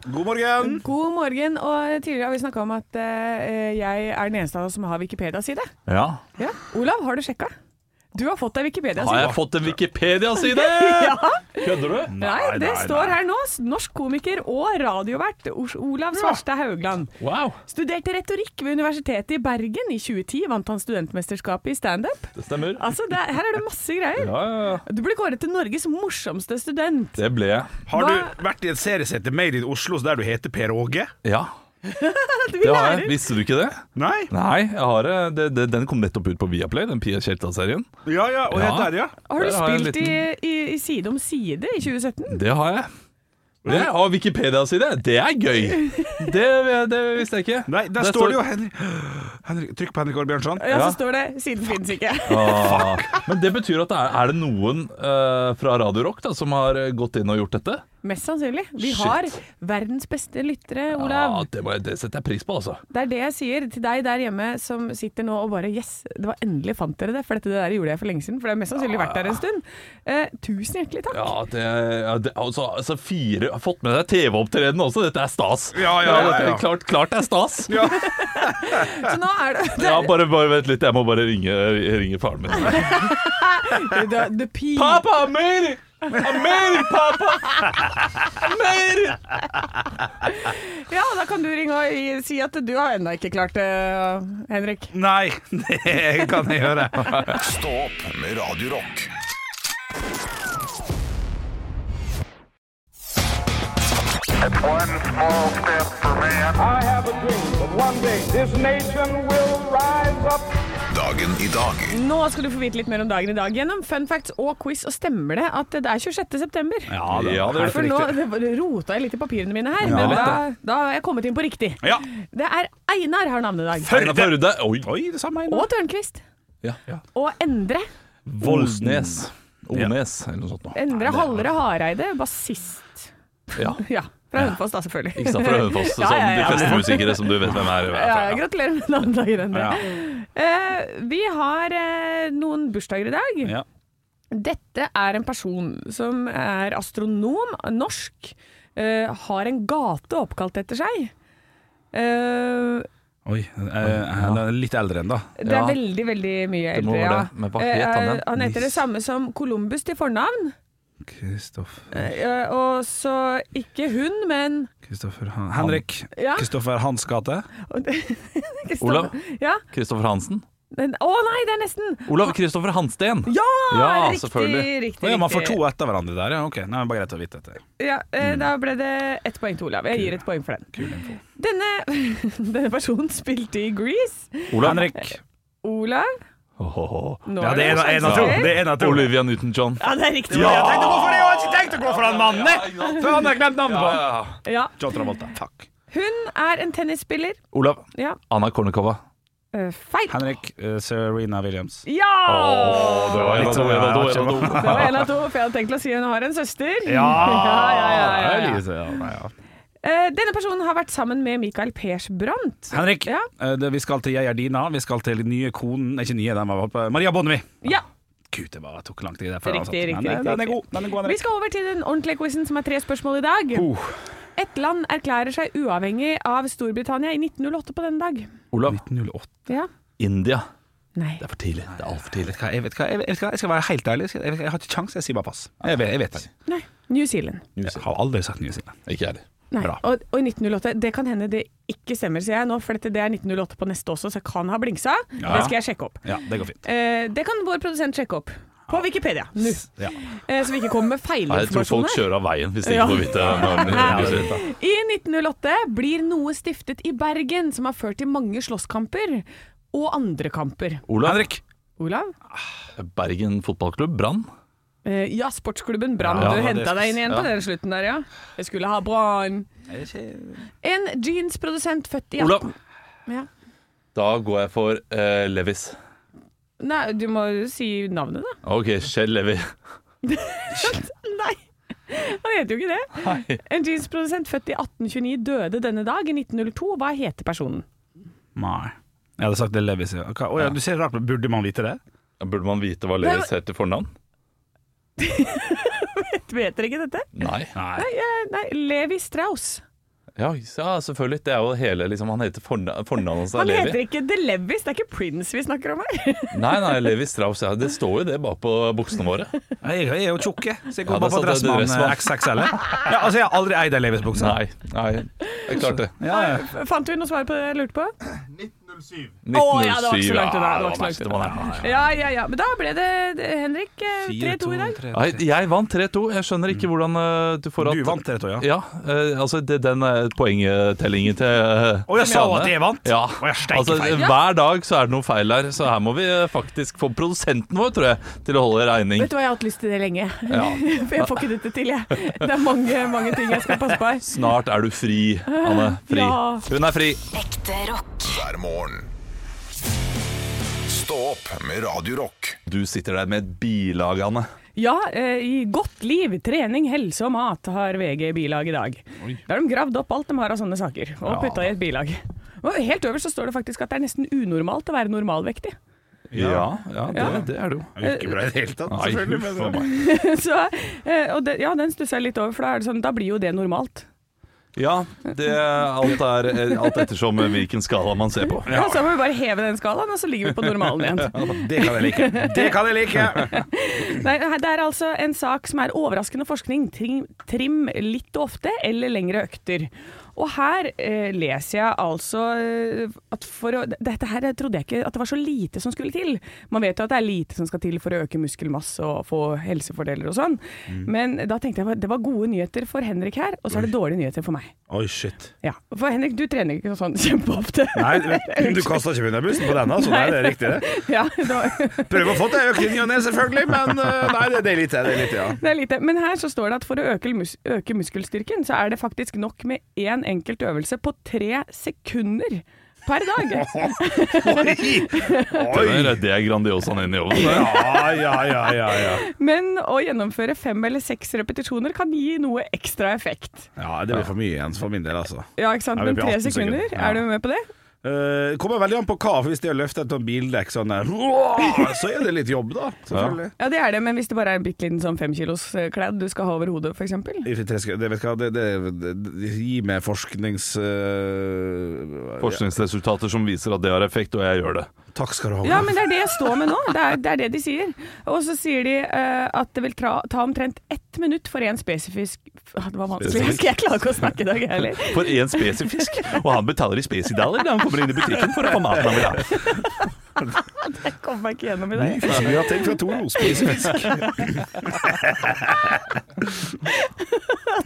Speaker 4: God morgen!
Speaker 1: God morgen. Og tidligere har vi snakka om at eh, jeg er den eneste av oss som har Wikipedia-side.
Speaker 3: Ja.
Speaker 1: Ja. Olav, har du sjekka? Du har fått deg Wikipedia-side.
Speaker 3: Har jeg fått en Wikipedia-side?!
Speaker 1: Ja.
Speaker 3: Kødder du?
Speaker 1: Nei, det står her nå. Norsk komiker og radiovert Os- Olav Svarstad Haugland.
Speaker 3: Wow.
Speaker 1: Studerte retorikk ved Universitetet i Bergen. I 2010 vant han studentmesterskapet i standup.
Speaker 3: Det stemmer.
Speaker 1: Altså, det, er- her er det masse greier.
Speaker 3: Ja, ja, ja.
Speaker 1: Du ble kåret til Norges morsomste student.
Speaker 3: Det ble jeg.
Speaker 4: Har
Speaker 1: Hva-
Speaker 4: du vært i et seriesete Made in Oslo der du heter Per Åge?
Speaker 3: Ja,
Speaker 1: Vi
Speaker 3: det har jeg.
Speaker 1: lærer.
Speaker 3: Visste du ikke det?
Speaker 4: Nei?
Speaker 3: Nei, jeg har det. det, det den kom nettopp ut på Viaplay, den Pia Kjelta-serien.
Speaker 4: Ja ja, og
Speaker 3: Ja.
Speaker 4: helt der, ja.
Speaker 1: Har du
Speaker 3: Der har jeg en
Speaker 1: spilt i, i, i Side om side i 2017?
Speaker 3: Det har jeg. Det har Wikipedia-side. Det er gøy. Det, det visste jeg ikke.
Speaker 4: Nei, der, står, det jo (gasps) Henrik, Henrik Trykk på Henrik Aare Bjørnson.
Speaker 1: Ja,
Speaker 3: Ja.
Speaker 1: så står det 'Siden finnes ikke'.
Speaker 3: Ah, men det betyr at det er, er det noen eh, fra Radio Rock da, som har eh, gått inn og gjort dette?
Speaker 1: Mest sannsynlig. Vi
Speaker 3: Shit.
Speaker 1: har verdens beste lyttere, Olav.
Speaker 3: Ja, Ah, det, må jeg, det setter jeg pris på, altså.
Speaker 1: Det er det jeg sier til deg der hjemme som sitter nå og bare Yes, det var endelig fant dere det, for dette det der gjorde jeg for lenge siden. For det har mest sannsynlig vært der en stund. Eh, tusen hjertelig takk.
Speaker 3: Ja, det, ja, det altså, altså fire Har fått med deg TV-opptreden også. Dette er stas.
Speaker 4: Ja, ja, ja,
Speaker 3: dette-
Speaker 4: ja.
Speaker 3: Klart, klart det er stas.
Speaker 4: Ja.
Speaker 1: Så nå er det, det
Speaker 3: (laughs) Ja, bare, bare vent litt. Jeg må bare ringe, ringe faren min.
Speaker 1: er (laughs) the, the P.
Speaker 3: Pappa, I made it! I made it, pappa! I made it!
Speaker 1: Ja, da kan du ringe og i- si at du har ennå ikke klart det, Henrik.
Speaker 4: Nei, (laughs) det kan jeg gjøre.
Speaker 2: Stå opp med Radio Rock.
Speaker 5: One small step for man. I have a dream that one day this nation will rise up.
Speaker 2: Dagen i dag.
Speaker 1: Nå skal du få vite litt mer om dagen i dag gjennom fun facts og quiz. Og stemmer det at det er 26. september?
Speaker 4: (laughs) Ja, det,
Speaker 3: Ja, det er
Speaker 1: For nå det var- rota jeg litt i papirene mine her,
Speaker 4: Ja,
Speaker 1: men
Speaker 4: jeg vet
Speaker 1: da, da har jeg kommet inn på riktig.
Speaker 4: Ja.
Speaker 1: Det er Einar har navnedag.
Speaker 3: Einar Førde. Oi.
Speaker 4: Oi, det samme
Speaker 1: Og Tørnquist.
Speaker 3: Ja.
Speaker 1: Og Endre.
Speaker 3: Voldsnes. Ones, eller noe sånt. nå.
Speaker 1: Endre Hallere Hareide, bassist.
Speaker 3: Ja.
Speaker 1: (laughs) Ja, fra Hønefoss da, selvfølgelig.
Speaker 3: Ikke sant, fra Hønefoss,
Speaker 1: Ja,
Speaker 3: som
Speaker 1: ja,
Speaker 3: sånn, de
Speaker 1: ja.
Speaker 3: fleste musikere som du vet hvem er.
Speaker 1: Ja, (laughs) ja, gratulerer med navnedagen, Endre.
Speaker 4: Ja.
Speaker 1: Eh, vi har eh, noen bursdager i dag.
Speaker 4: Ja.
Speaker 1: Dette er en person som er astronom, norsk, eh, har en gate oppkalt etter seg. Eh,
Speaker 4: Oi, eh, han er litt eldre enn da.
Speaker 1: det
Speaker 3: Ja.
Speaker 1: er veldig, veldig mye
Speaker 3: Det må
Speaker 1: eldre,
Speaker 3: være
Speaker 1: ja.
Speaker 3: det, men hva het han
Speaker 1: Eh,
Speaker 3: igjen?
Speaker 1: han heter det
Speaker 3: Nis-
Speaker 1: samme som Columbus til fornavn.
Speaker 4: Kristoffer,
Speaker 1: Eh, og så ikke hun, men
Speaker 4: Kristoffer Han- Henrik.
Speaker 1: Ja.
Speaker 4: Kristoffer Hans gate.
Speaker 1: (laughs)
Speaker 3: Olav?
Speaker 1: Ja.
Speaker 3: Kristoffer Hansen.
Speaker 1: Men, å nei, det er nesten!
Speaker 3: Olav Kristoffer Hansten.
Speaker 1: Ja!
Speaker 3: Ja,
Speaker 1: riktig,
Speaker 3: selvfølgelig.
Speaker 1: riktig.
Speaker 4: Å ja, man får
Speaker 1: riktig.
Speaker 4: to etter hverandre der, ja. Ok, Nei, men bare greit å vite dette.
Speaker 1: Ja, eh, Da ble det ett poeng til Olav. Jeg gir et poeng for den.
Speaker 4: Kul info.
Speaker 1: Denne, (laughs) denne personen spilte i Grease.
Speaker 3: Olav.
Speaker 4: Henrik.
Speaker 1: Olav
Speaker 3: Ho, ho, ho.
Speaker 1: nå
Speaker 4: Ja, det er en av- en av to.
Speaker 1: sjansen til.
Speaker 4: Det er en av to.
Speaker 3: Olivia Newton-John.
Speaker 1: Ja, det er riktig.
Speaker 4: Jeg tenkte hvorfor det? Jeg har ikke tenkt å gå for han mannen, jeg! For han har jeg glemt navnet på.
Speaker 1: Ja.
Speaker 4: John Travolta. Takk.
Speaker 1: Hun er en tennisspiller.
Speaker 3: Olav.
Speaker 1: Ja.
Speaker 3: Anna Kornikova.
Speaker 1: Eh, feil.
Speaker 4: Henrik eh, Serena Williams.
Speaker 1: Ja!
Speaker 3: det var
Speaker 4: litt sånn-
Speaker 1: Det var en av to, for jeg hadde tenkt å si hun har en søster. (laughs) ja, ja,
Speaker 4: Ah,
Speaker 1: ja, ja, ja. Eh, denne personen har vært sammen med Michael Persbrandt.
Speaker 4: Henrik,
Speaker 1: Ja.
Speaker 4: eh, det, vi skal til Jeg er dina. Vi skal til nye konen Nei, Ikke nye, den var på Maria Bonnevie.
Speaker 1: Ja,
Speaker 4: Gud, det bare tok lang tid. der før
Speaker 1: Riktig,
Speaker 4: han satt.
Speaker 1: riktig,
Speaker 4: Men, eh,
Speaker 1: riktig,
Speaker 4: Den er
Speaker 1: riktig.
Speaker 4: god. Den er god
Speaker 1: Vi
Speaker 4: Henrik.
Speaker 1: skal over til den ordentlige quizen som er tre spørsmål i dag.
Speaker 4: Uh.
Speaker 1: Et land erklærer seg uavhengig av Storbritannia i 1908 på denne dag.
Speaker 3: Olav.
Speaker 4: 1908.
Speaker 1: Ja.
Speaker 3: India.
Speaker 1: Nei.
Speaker 3: Det er for tidlig. Det er altfor tidlig.
Speaker 4: Vet du hva, Jeg, vet hva, jeg, vet hva, jeg skal være helt ærlig, jeg, skal- jeg, jeg har ikke kjangs, jeg sier bare pass. Jeg, vet- jeg vet det.
Speaker 1: Nei. New Zealand.
Speaker 4: Jeg har aldri sagt New Zealand.
Speaker 3: Ikke jeg heller.
Speaker 1: Nei.
Speaker 4: Bra.
Speaker 1: Og, og i 1908 Det kan hende det ikke stemmer, sier jeg nå, for dette det er 1908 på neste også, så jeg kan ha blingsa.
Speaker 4: Ja.
Speaker 1: Det skal jeg sjekke opp.
Speaker 4: Ja, det går fint.
Speaker 1: Eh, det kan vår produsent sjekke opp. På Wikipedia, nå.
Speaker 4: Ja.
Speaker 1: Eh, så vi ikke kommer med
Speaker 3: Nei, jeg tror
Speaker 1: feilinformasjon
Speaker 3: folk
Speaker 1: her.
Speaker 3: kjører av veien hvis de
Speaker 1: Ja.
Speaker 3: ikke får vite (laughs) når
Speaker 1: Ja,
Speaker 3: når
Speaker 1: det
Speaker 3: de
Speaker 4: er fint,
Speaker 1: I 1908 blir noe stiftet i Bergen som har ført til mange slåsskamper og andre kamper.
Speaker 3: Olav.
Speaker 4: Henrik.
Speaker 1: Olav?
Speaker 3: Bergen fotballklubb. Brann.
Speaker 1: Eh, ja, sportsklubben Brann.
Speaker 3: Ja,
Speaker 1: du
Speaker 3: det
Speaker 1: henta
Speaker 4: skal-
Speaker 1: deg inn igjen på den slutten der, ja. Jeg skulle ha Brann. En jeansprodusent født i
Speaker 3: Olav.
Speaker 1: Ja.
Speaker 3: Da går jeg for eh, Levis.
Speaker 1: Nei, du må jo si navnet, da.
Speaker 3: Ok, Kjell Levi.
Speaker 1: (laughs) Nei, han heter jo ikke det.
Speaker 3: Nei.
Speaker 1: En jeansprodusent født i 1829 døde denne dag i 1902. Hva heter personen?
Speaker 4: Nei. Jeg hadde sagt det Levis. Ja. Hva- Å ja, du ser rart, men burde man vite det?
Speaker 3: Ja, Burde man vite hva Levis heter fornavn?
Speaker 1: Vet dere ikke dette?
Speaker 3: Nei.
Speaker 4: Nei.
Speaker 1: Nei, eh, nei Levi Strauss.
Speaker 3: Ja, ja, selvfølgelig. Det er jo hele liksom, Han heter forna- fornavnet hans er
Speaker 1: Han
Speaker 3: Levi.
Speaker 1: heter ikke The Levis, det er ikke Prince vi snakker om her. (laughs)
Speaker 3: Nei, nei, Levi Strauss. Ja, det står jo det bak på buksene våre.
Speaker 4: Jeg, jeg er jo tjukk, jeg, så jeg går
Speaker 3: Ja,
Speaker 4: bare
Speaker 3: det er
Speaker 4: på
Speaker 3: sant, det er
Speaker 4: Dressmann
Speaker 3: Dressmann.
Speaker 4: eh, XXL. jeg. Ja, altså, jeg har aldri eid ei Levis-bukse.
Speaker 3: Nei, nei, det er klart det.
Speaker 4: Ja, ja.
Speaker 1: Fant vi noe svar på det jeg lurte på?
Speaker 2: 1907.
Speaker 3: 1907.
Speaker 1: Å, ja, det var ikke så langt unna,
Speaker 3: ja,
Speaker 1: det var ikke så langt
Speaker 3: det var nærmest.
Speaker 1: Ja, ja, ja. Men da ble det det- Henrik eh, 3-2 i dag.
Speaker 3: Nei, jeg vant 3-2. Jeg skjønner ikke hvordan eh, du får at
Speaker 4: Du vant 3-2, ja.
Speaker 3: Ja, eh, altså det, den eh, poengtellingen til eh,
Speaker 4: Å, jeg sa
Speaker 3: Janne.
Speaker 4: at jeg vant?
Speaker 3: Ja.
Speaker 4: Å, jeg steik
Speaker 3: altså,
Speaker 4: feil.
Speaker 3: hver dag så er det noe feil her, så her må vi eh, faktisk få produsenten vår, tror jeg, til å holde regning.
Speaker 1: Vet du hva, jeg har hatt lyst til det lenge. (laughs)
Speaker 3: Ja.
Speaker 1: For jeg får ikke dette til, jeg. Det er mange, mange ting jeg skal passe på her.
Speaker 3: Snart er du fri, Anne. Fri.
Speaker 1: Ja.
Speaker 3: Hun er fri.
Speaker 6: Ekte rock.
Speaker 2: hver morgen. Stå opp med Radio Rock.
Speaker 3: Du sitter der med et bilag, Anne.
Speaker 1: Ja, eh, i Godt liv, trening, helse og mat har VG bilag i dag. Da har de gravd opp alt de har av sånne saker, og putta i et bilag. Og helt øverst så står det faktisk at det er nesten unormalt å være normalvektig. (laughs)
Speaker 3: Ja, ja, det, det er du.
Speaker 4: Det gikk ikke bra i det hele tatt,
Speaker 3: Nei,
Speaker 4: selvfølgelig.
Speaker 3: huff
Speaker 4: men-
Speaker 3: a meg.
Speaker 1: Så, eh, og det, ja, den stusser jeg litt over, for da, er det sånn, da blir jo det normalt.
Speaker 3: Ja, det, alt er eh, alt ettersom hvilken skala man ser på.
Speaker 1: Ja, så må vi bare heve den skalaen, og så ligger vi på normalen
Speaker 4: (laughs)
Speaker 1: igjen.
Speaker 4: Det kan jeg like. Det kan jeg like.
Speaker 1: Nei, det er altså en sak som er overraskende forskning. Trim, trim litt ofte eller lengre økter. Og her eh, leser jeg altså eh, at for å Dette her trodde jeg ikke at det var så lite som skulle til. Man vet jo at det er lite som skal til for å øke muskelmasse og få helsefordeler og sånn.
Speaker 4: Mm.
Speaker 1: Men da tenkte jeg at det var gode nyheter for Henrik her, og så er det dårlige nyheter for meg.
Speaker 4: Oi, shit.
Speaker 1: Ja, For Henrik, du trener ikke sånn (laughs) kjempeofte.
Speaker 4: Nei, du kasta ikke bussen på denne, så nei, det er riktig, det.
Speaker 1: (laughs) Ja, det var
Speaker 4: Prøver å få til økt i ny og ne, selvfølgelig, men eh, nei, det, det er lite, det er lite, ja.
Speaker 1: Det er lite. Men her så står det at for å øke, mus øke muskelstyrken, så er det faktisk nok med én enkelt øvelse på tre sekunder per dag.
Speaker 4: Oi!
Speaker 3: Det er- Det er Grandiosaen inn i ovnen. det.
Speaker 4: Ja, ja, ja, ja, ja.
Speaker 1: Men å gjennomføre fem eller seks repetisjoner kan gi noe ekstra effekt.
Speaker 4: Ja, det blir for mye igjen for min del, altså.
Speaker 1: Ja, ikke sant?
Speaker 4: Ja, vi blir
Speaker 1: Men tre
Speaker 4: 18
Speaker 1: sekunder,
Speaker 4: sekunder. Ja.
Speaker 1: er du med på det?
Speaker 4: Eh, kommer veldig an på hva, for hvis de har løftet et sånt bildekk sånn der, «Åh», så er det litt jobb, da. Selvfølgelig.
Speaker 1: Ja, det er det, men hvis det bare er en bitte liten sånn femkiloskledd du skal ha over hodet, f.eks.
Speaker 4: I tre sek- Det, vet du hva, det, det, det, det gir meg forsknings... eh,
Speaker 3: Forskningsresultater som viser at det har effekt, og jeg gjør det.
Speaker 4: takk skal du ha.
Speaker 1: Ja, men det er det jeg står med nå. Det er det, er det de sier. Og så sier de eh, at det vil tra ta omtrent ett minutt for én spesifisk Det var vanskelig. Jeg klarer ikke å snakke i dag, jeg
Speaker 3: (laughs)
Speaker 1: heller.
Speaker 3: For én spesifisk, og han betaler i spesidaler da han kommer inn i butikken for å få maten han vil ha.
Speaker 1: Jeg kommer meg ikke gjennom i dag.
Speaker 4: Vi har tenkt fra Toro (laughs) spisefisk.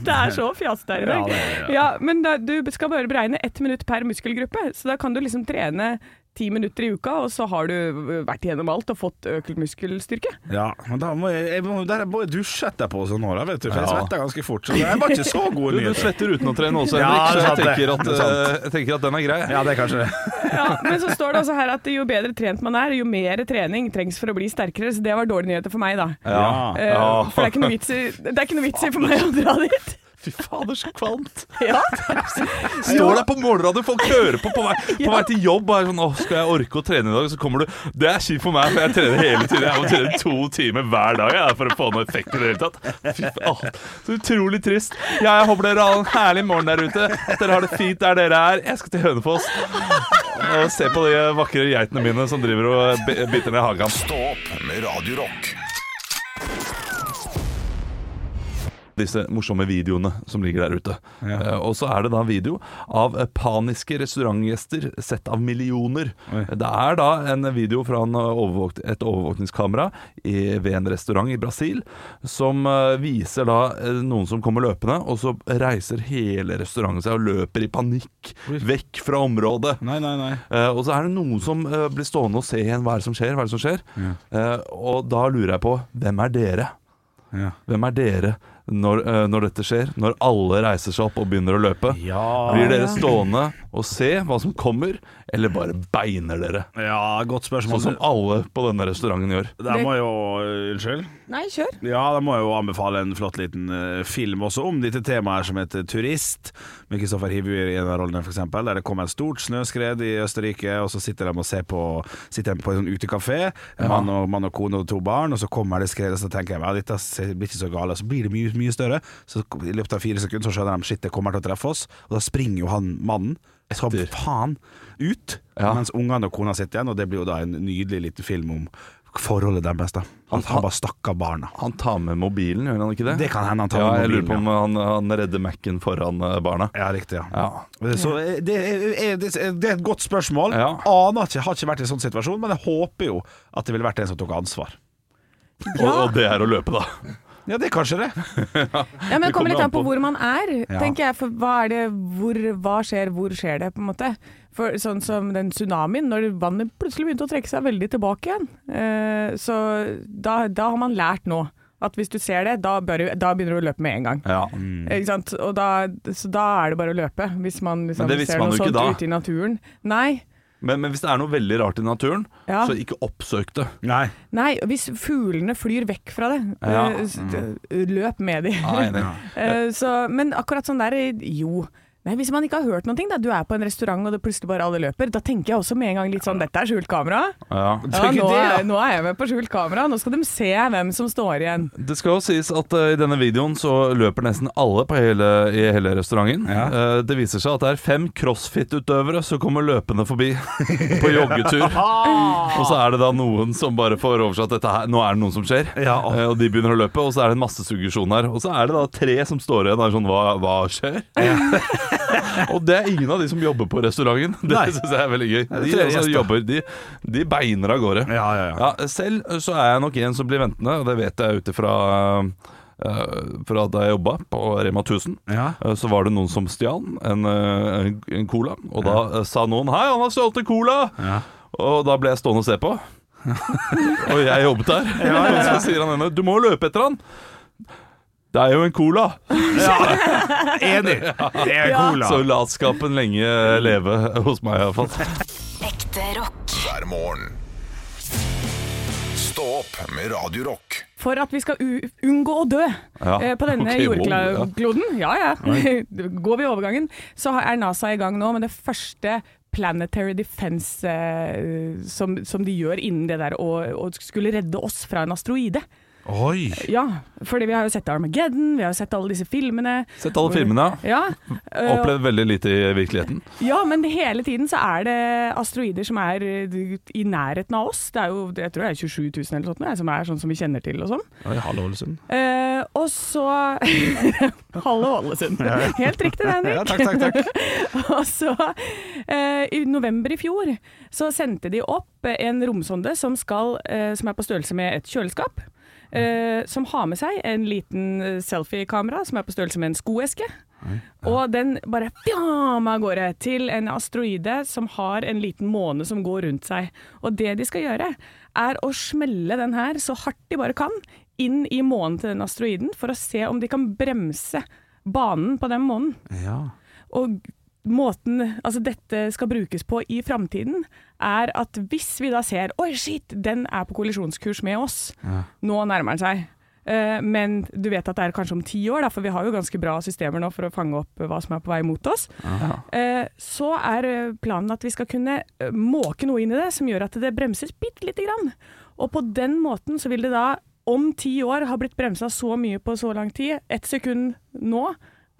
Speaker 1: Det er så fjas der i dag.
Speaker 4: Ja, det
Speaker 1: (laughs) Ja, men da, du skal bare beregne ett minutt per muskelgruppe, så da kan du liksom trene ti minutter i uka, og så har du øh, vært igjennom alt og fått økt muskelstyrke.
Speaker 4: Ja, men da må jeg, jeg må, der må jeg dusje etterpå og sånn nå, da, vet du, for jeg
Speaker 3: Ja.
Speaker 4: svetter ganske fort. Så det var ikke
Speaker 3: (laughs)
Speaker 4: så gode
Speaker 3: Du, du
Speaker 4: nyheter.
Speaker 3: svetter uten å trene også,
Speaker 4: Ja,
Speaker 3: Henrik, så
Speaker 4: det er
Speaker 3: jeg
Speaker 4: sant det.
Speaker 3: tenker at,
Speaker 4: Det er sant.
Speaker 3: eh, jeg tenker at den er grei.
Speaker 4: Ja, det er kanskje det.
Speaker 1: Ja, men så står det også her at jo bedre trent man er, jo mer trening trengs for å bli sterkere, så det var dårlige nyheter for meg, da.
Speaker 4: Ja.
Speaker 1: Eh,
Speaker 3: Ja.
Speaker 1: For det er ikke noe vits i, det er ikke noe vits i for meg å dra dit.
Speaker 3: Fy fader, så kvalmt!
Speaker 1: Ja.
Speaker 3: Står der på morgenradio, folk hører på på vei, på vei til jobb. Bare sånn, Åh, 'Skal jeg orke å trene i dag?' Så kommer du. Det er kjipt for meg, for jeg trener hele tiden. Jeg må trene to timer hver dag jeg, for å få noe effekt i det hele tatt. Fy faen. Så utrolig trist. Jeg håper dere har en herlig morgen der ute. At dere har det fint der dere er. Jeg skal til Hønefoss og se på de vakre geitene mine som driver og bi- biter ned hagen.
Speaker 2: Stå opp med Radio Rock.
Speaker 3: disse morsomme videoene som ligger der ute. Eh, og så er det da en video av eh, paniske restaurantgjester sett av millioner. Det er da en video fra en eh, overvåkt, et overvåkningskamera i, ved en restaurant i Brasil som eh, viser da eh, noen som kommer løpende, og så reiser hele restauranten seg og løper i panikk vekk fra området.
Speaker 4: Nei, nei, nei.
Speaker 3: Eh, og så er det noen som eh, blir stående og se igjen hva er det som skjer, hva er det som skjer. Eh, og da lurer jeg på, hvem er dere?
Speaker 4: Ja.
Speaker 3: Hvem er dere når, eh, når dette skjer, når alle reiser seg opp og begynner å løpe?
Speaker 4: Ja.
Speaker 3: Blir dere stående og se hva som kommer, eller bare beiner dere?
Speaker 4: Ja, godt spørsmål.
Speaker 3: Sånn som alle på denne restauranten gjør.
Speaker 4: Der må jo eh, Unnskyld?
Speaker 1: Nei, kjør.
Speaker 4: Ja, da må jeg jo anbefale en flott liten eh, film også om dette temaet her som heter Turist, med Kristoffer Hivju i en av rollene, for eksempel, der det kom et stort snøskred i Østerrike, og så sitter de og ser på Sitter de på en sånn utekafé, en mann, og, mann og kone og to barn, og så kommer det skredet, så tenker jeg ja, dette ser- blir ikke så gale, så blir det mye, mye større. Så i løpet av fire sekunder så skjønner de shit, det kommer til å treffe oss, og da springer jo han mannen som
Speaker 3: Etter.
Speaker 4: faen ut,
Speaker 3: Ja.
Speaker 4: mens ungene og kona sitter igjen, og det blir jo da en nydelig liten film om forholdet deres, da.
Speaker 3: Han-
Speaker 4: At han bare stakk av barna.
Speaker 3: Han tar med mobilen, gjør han ikke det?
Speaker 4: Det kan hende han tar
Speaker 3: ja,
Speaker 4: med
Speaker 3: Jeg lurer på
Speaker 4: mobilen,
Speaker 3: om han, han redder Mac-en foran eh, barna.
Speaker 4: Ja, riktig. ja,
Speaker 3: Ja.
Speaker 4: Så eh, det er, det er det er et godt spørsmål.
Speaker 3: Ja.
Speaker 4: Aner ikke, har ikke vært i en sånn situasjon, men jeg håper jo at det ville vært en som tok ansvar.
Speaker 3: Og, og det er å løpe, da.
Speaker 4: Ja, det er kanskje det.
Speaker 1: Ja, men Det kommer litt an på
Speaker 3: på-
Speaker 1: hvor man er,
Speaker 4: Ja.
Speaker 1: tenker jeg. For hva, er det, hvor, hva skjer, hvor skjer det, på en måte. For Sånn som den tsunamien, når vannet plutselig begynte å trekke seg veldig tilbake igjen. Eh, så da, da har man lært nå at hvis du ser det, da, bør, du- da begynner du å løpe med en gang.
Speaker 3: Ja.
Speaker 1: Ikke sant? Og da, så da er det bare å løpe, hvis man liksom,
Speaker 3: Men det visste
Speaker 1: ser
Speaker 3: man
Speaker 1: noe
Speaker 3: jo ikke
Speaker 1: sånt
Speaker 3: da.
Speaker 1: ute i naturen. Nei.
Speaker 3: Men, men hvis det er noe veldig rart i naturen,
Speaker 1: Ja.
Speaker 3: så ikke oppsøk det.
Speaker 4: Nei.
Speaker 1: Nei, hvis fuglene flyr vekk fra det,
Speaker 3: Ja. Mm.
Speaker 1: eh, s- løp med de.
Speaker 3: Ja, jeg er enig.
Speaker 1: Eh, så, men akkurat sånn der, jo. Nei, hvis man ikke har hørt noe, da, du er på en restaurant og det plutselig bare alle løper, da tenker jeg også med en gang litt sånn, dette er skjult kamera.
Speaker 3: Ja.
Speaker 1: (laughs) Ja,
Speaker 4: Tenker
Speaker 1: nå,
Speaker 4: det, ja.
Speaker 1: er, nå er jeg med på skjult kamera, nå skal de se hvem som står igjen.
Speaker 3: Det skal jo sies at eh, i denne videoen så løper nesten alle på hele, i hele restauranten.
Speaker 4: Ja.
Speaker 3: Eh, det viser seg at det er fem crossfit-utøvere som kommer løpende forbi (laughs) på joggetur. Og så er det da noen som bare får oversatt dette her. Nå er det noe som skjer.
Speaker 4: Ja.
Speaker 3: Eh, og de begynner å løpe, og så er det en masse suggesjon her. Og så er det da tre som står igjen og er sånn Hva, hva skjer? (laughs) og det er ingen av de som jobber på restauranten. Det
Speaker 4: Nei.
Speaker 3: syns jeg er veldig gøy. De,
Speaker 4: tre
Speaker 3: altså,
Speaker 4: gjester.
Speaker 3: jobber, de, de beiner av gårde.
Speaker 4: Ja, ja, ja.
Speaker 3: Ja, selv så er jeg nok en som blir ventende, og det vet jeg ut ifra eh, fra da jeg jobba på Rema 1000,
Speaker 4: Ja.
Speaker 3: eh, så var det noen som stjal en, eh, en, en cola. Og da eh, sa noen 'Hei, han har stjålet en cola!'
Speaker 4: Ja.
Speaker 3: Og da ble jeg stående og se
Speaker 4: (laughs)
Speaker 3: på. og jeg jobbet der. Og så sier han henne 'Du må jo løpe etter han'. Det er jo en cola, (laughs)
Speaker 4: Enig. Det er cola.
Speaker 3: så latskapen lenge leve hos meg iallfall.
Speaker 6: Ekte rock.
Speaker 2: hver morgen. Stå opp med Radio Rock.
Speaker 1: For at vi skal u unngå å dø
Speaker 3: Ja.
Speaker 1: eh, på denne
Speaker 3: Ok, wow, ja.
Speaker 1: jordkloden. Ja ja. (laughs) Går vi overgangen, så har- er NASA i gang nå med det første Planetary Defense eh, som, som de gjør innen det der å, å skulle redde oss fra en asteroide.
Speaker 4: Oi.
Speaker 1: Ja, fordi vi har jo sett Armageddon, vi har jo sett alle disse filmene.
Speaker 3: Sett alle filmene. ja.
Speaker 1: Ja, eh,
Speaker 3: Opplevd veldig lite i virkeligheten.
Speaker 1: ja, men det hele tiden så er det asteroider som er eh, i nærheten av oss. Det er jo, jeg tror det er 27 000 eller noe sånt, nå, som er sånn som vi kjenner til og sånn. Eh, og så (laughs) Halve Ålesund. Helt riktig det, Henrik.
Speaker 4: Ja, takk, takk, takk.
Speaker 1: (laughs) Og så, eh, i november i fjor, så sendte de opp en romsonde som, skal, eh, som er på størrelse med et kjøleskap. eh, som har med seg en liten eh, selfie-kamera som er på størrelse med en skoeske. Og den bare fjam av gårde til en asteroide som har en liten måne som går rundt seg. Og det de skal gjøre, er å smelle den her så hardt de bare kan inn i månen til den asteroiden, for å se om de kan bremse banen på den månen.
Speaker 4: Ja.
Speaker 1: Og måten altså dette skal brukes på i framtiden, er at hvis vi da ser Oi, shit, den er på kollisjonskurs med oss. Nå nærmer den seg. Eh, Men du vet at det er kanskje om ti år, da, for vi har jo ganske bra systemer nå for å fange opp eh, hva som er på vei mot oss. Eh, Så er eh, planen at vi skal kunne eh, måke noe inn i det som gjør at det bremses bitte lite grann. Og på den måten så vil det da, om ti år, ha blitt bremsa så mye på så lang tid. Ett sekund nå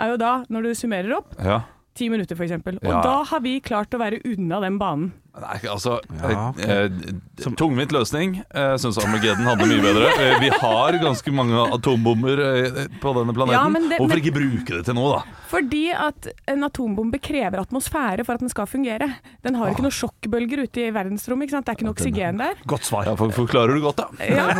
Speaker 1: er jo da, når du summerer opp,
Speaker 3: Ja.
Speaker 1: ti minutter f.eks. Og
Speaker 3: Ja.
Speaker 1: da har vi klart å være unna den banen.
Speaker 3: Nei, altså
Speaker 4: Ja, ok.
Speaker 3: eh, eh, Tungvint løsning. Jeg syns Armageddon hadde mye bedre. Eh, Vi har ganske mange atombomber eh, på denne planeten.
Speaker 1: Ja, men det-
Speaker 3: Hvorfor
Speaker 1: men-
Speaker 3: ikke bruke det til noe, da?
Speaker 1: Fordi at en atombombe krever atmosfære for at den skal fungere. Den har ikke noen sjokkbølger ute i verdensrommet, ikke sant? det er ikke noe
Speaker 4: (laughs)
Speaker 1: oksygen der.
Speaker 4: Godt svar.
Speaker 3: Ja, for, forklarer du godt, da.
Speaker 1: Ja.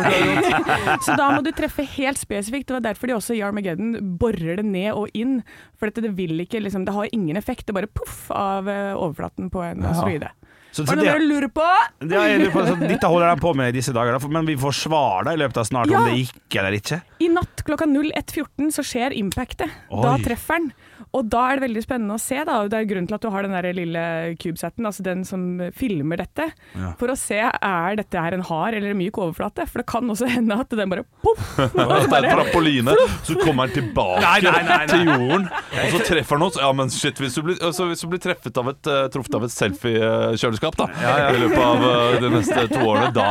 Speaker 1: (laughs) Så da må du treffe helt spesifikt. Det var derfor de også i Armageddon borer det ned og inn. For dette, det vil ikke, liksom, det har ingen effekt. Det bare poff av eh, overflaten på en asteroide.
Speaker 4: Så, så
Speaker 1: Hva er det
Speaker 4: det,
Speaker 1: dere lurer på?
Speaker 4: det er jeg lurer på, så dette holder de på med i disse dager, da, for- men vi får svar da i løpet av snart
Speaker 1: Ja.
Speaker 4: om det gikk eller ikke.
Speaker 1: I natt klokka 01.14 så skjer impactet.
Speaker 7: Oi.
Speaker 1: Da treffer den. Og da er det veldig spennende å se. Da. og Det er grunnen til at du har den der lille CubeSaten, altså den som filmer dette, for å se er dette her en hard eller en myk overflate. For det kan også (laughs) hende at den bare poff!
Speaker 3: At det er en trampoline, så kommer han tilbake
Speaker 7: Nei,
Speaker 3: (laughs)
Speaker 7: nei, nei, nei.
Speaker 3: til jorden. Og så treffer han oss. Ja, men shit, hvis du blir, altså, hvis du blir treffet av et, eh, truffet av et selfie-kjøleskap da, i løpet av eh, de neste to årene, da,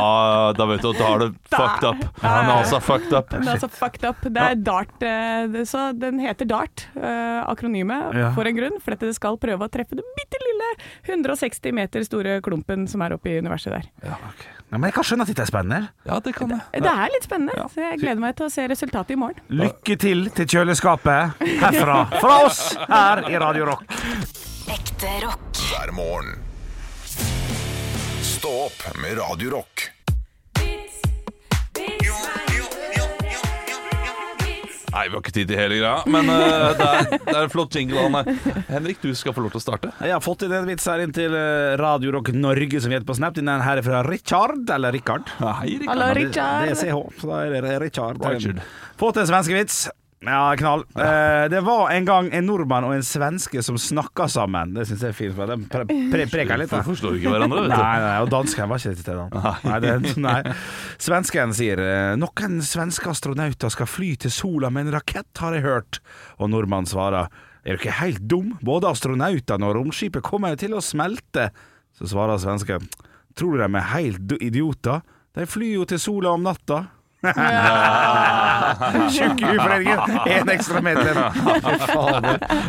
Speaker 3: da vet du at da er det fucked up.
Speaker 1: Da-
Speaker 3: Han er altså fucked up.
Speaker 1: Den er altså fucked up. Det er Dart. eh, det- Så den heter Dart, eh, akronymet,
Speaker 4: Ja.
Speaker 1: for en grunn. For dette skal prøve å treffe den bitte lille 160 meter store klumpen som er oppe i universet der.
Speaker 4: Ja, men jeg kan skjønne at dette er spennende.
Speaker 7: Ja, det kan jeg.
Speaker 1: Det er litt spennende, så jeg gleder meg til å se resultatet i morgen.
Speaker 4: Lykke til til kjøleskapet herfra. Fra oss her i Radio Rock.
Speaker 8: Ekte rock.
Speaker 2: hver morgen. Stå opp med Radio Rock.
Speaker 3: Nei, vi har ikke tid til hele greia, men eh, det, er, det er en flott jingle. Anne. Henrik, du skal få lov til å starte.
Speaker 4: Jeg har fått inn en vits her inn til eh, Radio Rock Norge, som vi heter på Snap. Den her er fra Richard, eller Richard.
Speaker 3: Hei, Rikard.
Speaker 1: Hallo,
Speaker 4: Ja, det-
Speaker 1: Richard.
Speaker 4: Det er CH, så da er det Richard.
Speaker 3: Richard.
Speaker 4: Få til en svenskevits. Ja, knall. Eh, det var en gang en nordmann og en svenske som snakka sammen. Det syns jeg er fint, for de pre pre preker litt. da.
Speaker 3: Vi forstår ikke hverandre, vet du.
Speaker 4: (laughs) Nei, nei, og dansken var ikke til stede. han. Nei, det, nei. Svensken sier eh, Noen svenske astronauter skal fly til sola med en rakett, har jeg hørt. Og nordmannen svarer Er du ikke helt dum? Både astronautene og romskipet kommer jo til å smelte. Så svarer svensken Tror du de er helt du- idioter? De flyr jo til sola om
Speaker 3: (laughs)
Speaker 4: natta. Tjukk i huforeningen. Én ekstra medlem.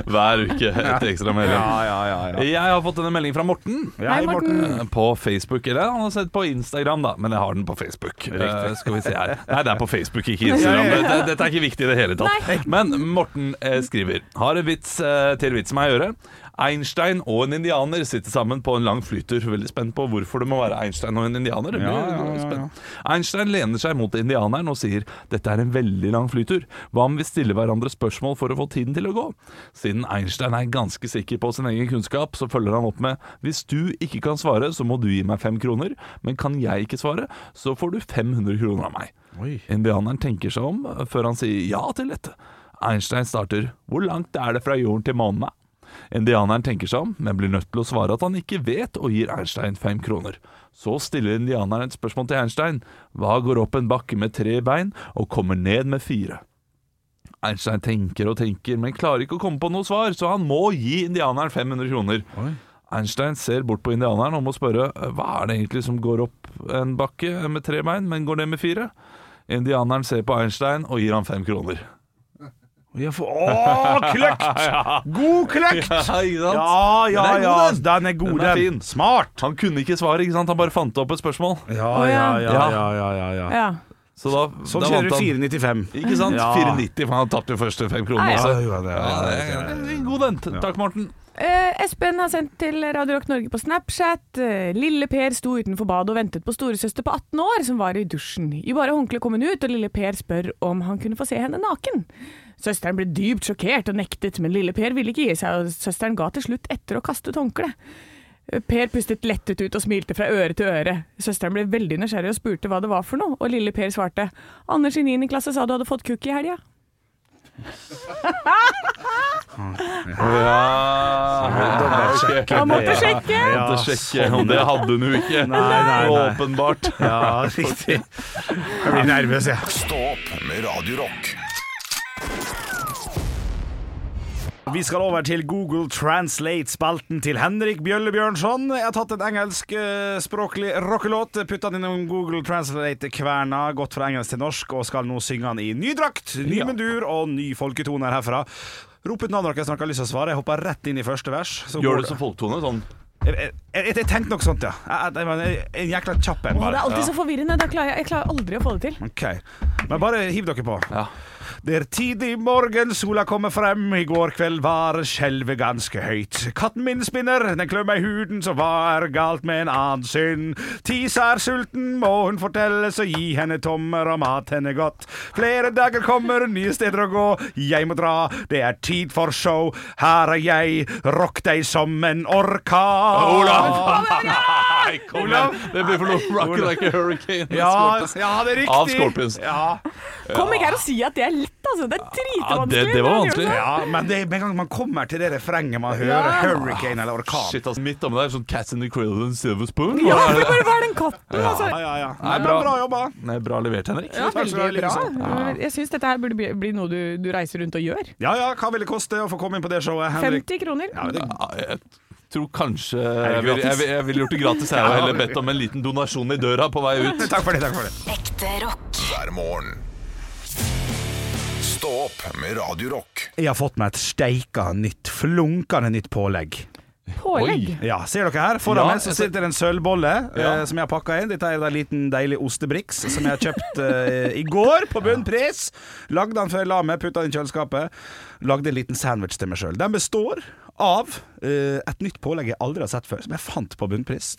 Speaker 3: Hver uke et ekstra medlem.
Speaker 4: Ja, ja, ja. ja.
Speaker 3: Jeg har fått en melding fra Morten. eh,
Speaker 4: Hei, Morten.
Speaker 3: På Facebook, eller han har sett på Instagram da Men jeg har den på Facebook Eh, Skal vi se her Nei, det er på Facebook, ikke Instagram Dette, dette er ikke viktig i det hele tatt (laughs) Men Morten eh, skriver Har en vits eh, til vits med meg å gjøre Einstein og en indianer sitter sammen på en lang flytur Veldig spent på hvorfor det må være Einstein og en indianer Det blir spennende. Einstein lener seg mot indianeren og sier Dette er en veldig lang flytur Hva om vi stiller hverandre spørsmål for å få tiden til å gå? Siden Einstein er ganske sikker på sin egen kunnskap Så følger han opp med Hvis du ikke kan svare, så må du gi meg fem kroner Men kan jeg ikke svare, så får du 500 kroner av meg Indianeren tenker seg om eh, Før han sier ja til dette Einstein starter Hvor langt er det fra jorden til månen? Indianeren tenker seg om, men blir nødt til å svare at han ikke vet, og gir Einstein fem kroner. Så stiller indianeren et spørsmål til Einstein. Hva går opp en bakke med tre bein og kommer ned med fire? Einstein tenker og tenker, men klarer ikke å komme på noe svar, så han må gi indianeren 500 kroner. Einstein ser bort på indianeren og må spørre eh, hva er det egentlig som går opp en bakke med tre bein, men går ned med fire? Indianeren ser på Einstein og gir han fem kroner.
Speaker 4: Ja, for- Å,
Speaker 3: (laughs)
Speaker 4: kløkt! God kløkt!
Speaker 3: Ja, ikke sant?
Speaker 4: Ja, ja,
Speaker 3: Den er god,
Speaker 4: ja.
Speaker 3: den.
Speaker 4: Den er god,
Speaker 3: Den er fin.
Speaker 4: Smart!
Speaker 3: Han kunne ikke svaret, ikke sant? Han bare fant opp et spørsmål.
Speaker 4: Ja,
Speaker 1: ja,
Speaker 3: ja, ja,
Speaker 1: Ja.
Speaker 3: Så da,
Speaker 4: Sånn
Speaker 3: da
Speaker 4: kjører
Speaker 3: vant
Speaker 4: du
Speaker 3: han.
Speaker 4: 495.
Speaker 3: Ikke sant?
Speaker 4: Ja.
Speaker 3: 4,90, for han tapte jo første fem kroner.
Speaker 1: Nei, ja.
Speaker 3: altså.
Speaker 4: ja, det er-
Speaker 3: Ja, det er en God den. Takk, Morten.
Speaker 1: Eh, Espen har sendt til Radio Rock Norge på Snapchat. Eh, Lille Per sto utenfor badet og ventet på storesøster på 18 år, som var i dusjen. I bare håndkle kom hun ut, og lille Per spør om han kunne få se henne naken. Søsteren ble dypt sjokkert og nektet, men lille Per ville ikke gi seg, og søsteren ga til slutt etter å kaste et håndkle. Eh, Per pustet lettet ut og smilte fra øre til øre. Søsteren ble veldig nysgjerrig og spurte hva det var for noe, og lille Per svarte Anders i 9. klasse sa du hadde fått kukk i helga. Han måtte sjekke!
Speaker 3: Ja, sjekke om det hadde hun jo ikke.
Speaker 4: sånn, nei, nei.
Speaker 3: Åpenbart.
Speaker 4: Ja, riktig. Jeg blir nervøs, jeg.
Speaker 2: Stå opp med Radio Rock.
Speaker 4: Vi skal over til Google Translate-spalten til Henrik Bjølle Bjørnson. Jeg har tatt en engelskspråklig rockelåt, putta den innom Google Translate-kverna, gått fra engelsk til norsk, og skal nå synge den i ny drakt, ny mundur og ny folketoner herfra. Rop ut navnet deres når dere har lyst til å svare. Jeg hopper rett inn i første vers. så går
Speaker 3: Gjør
Speaker 4: det.
Speaker 3: du som folktone sånn?
Speaker 4: Jeg, jeg, jeg, jeg tenkte nok sånt, ja. Jeg, jeg, jeg, jeg, en jækla kjapp en,
Speaker 1: Å, det
Speaker 4: bare.
Speaker 1: er alltid så forvirrende. Da klarer jeg, jeg klarer aldri å få det til.
Speaker 4: Ok, Men bare hiv dere på.
Speaker 3: Ja.
Speaker 4: Det er tidlig morgen, sola kommer frem. I går kveld var skjelvet ganske høyt. Katten min spinner, den klør meg i huden, så hva er galt med en annen synd? Tisa er sulten, må hun fortelle, så gi henne tommer og mat henne godt. Flere dager kommer, nye steder å gå. Jeg må dra, det er tid for show. Her er jeg, rock deg som en orkan.
Speaker 3: Olav! Nei, kom igjen! Det blir for noe Rocket Like a Hurricane. med Scorpions.
Speaker 4: det er
Speaker 3: Av Scorpions.
Speaker 4: Ja,
Speaker 1: Kom ikke her og si at det er lett, altså. Det er
Speaker 3: Ja,
Speaker 1: dritvanskelig.
Speaker 3: det, det var vanskelig.
Speaker 4: ja men det, med en gang man kommer til det refrenget man hører hurricane eller orkan
Speaker 3: Shit, altså, midt omme der, sånn Cats in the Cradle and Silver Spoon.
Speaker 1: sånn- Ja, for bare hva er den katten, altså?
Speaker 4: Ja, ja, ja.
Speaker 3: Nei,
Speaker 4: Men
Speaker 3: bra.
Speaker 4: bra jobba.
Speaker 3: Nei, bra levert, Henrik.
Speaker 1: Ja,
Speaker 4: Takk skal du
Speaker 1: veldig
Speaker 4: ha,
Speaker 1: bra.
Speaker 4: Lise.
Speaker 1: Jeg syns dette her burde bli, bli noe du, du reiser rundt og gjør.
Speaker 4: Ja ja, hva vil det koste å få komme inn på det showet, Henrik?
Speaker 1: 50 kroner.
Speaker 4: Ja, det,
Speaker 3: Ja, jeg tror kanskje
Speaker 4: det
Speaker 3: jeg ville
Speaker 4: gratis?
Speaker 3: jeg, vil- jeg ville gjort det gratis. (laughs) Jeg og heller bedt om en liten donasjon i døra på vei ut.
Speaker 4: takk for det. takk for det
Speaker 8: Ekte rock.
Speaker 2: hver morgen. Stå opp med Radio Rock.
Speaker 4: Jeg har fått meg et steika nytt, flunkende nytt pålegg.
Speaker 1: Pålegg.
Speaker 4: Ja, Ser dere her? Foran
Speaker 3: Ja,
Speaker 4: meg så
Speaker 3: jeg ser-
Speaker 4: sitter det en sølvbolle
Speaker 3: Ja.
Speaker 4: eh, som jeg har pakka inn. Dette er en liten deilig ostebriks som jeg har kjøpt eh, i går på bunnpris. Lagde den før jeg la meg, putta den i kjøleskapet. Lagde en liten sandwich til meg sjøl. Den består av eh, et nytt pålegg jeg aldri har sett før, som jeg fant på bunnpris.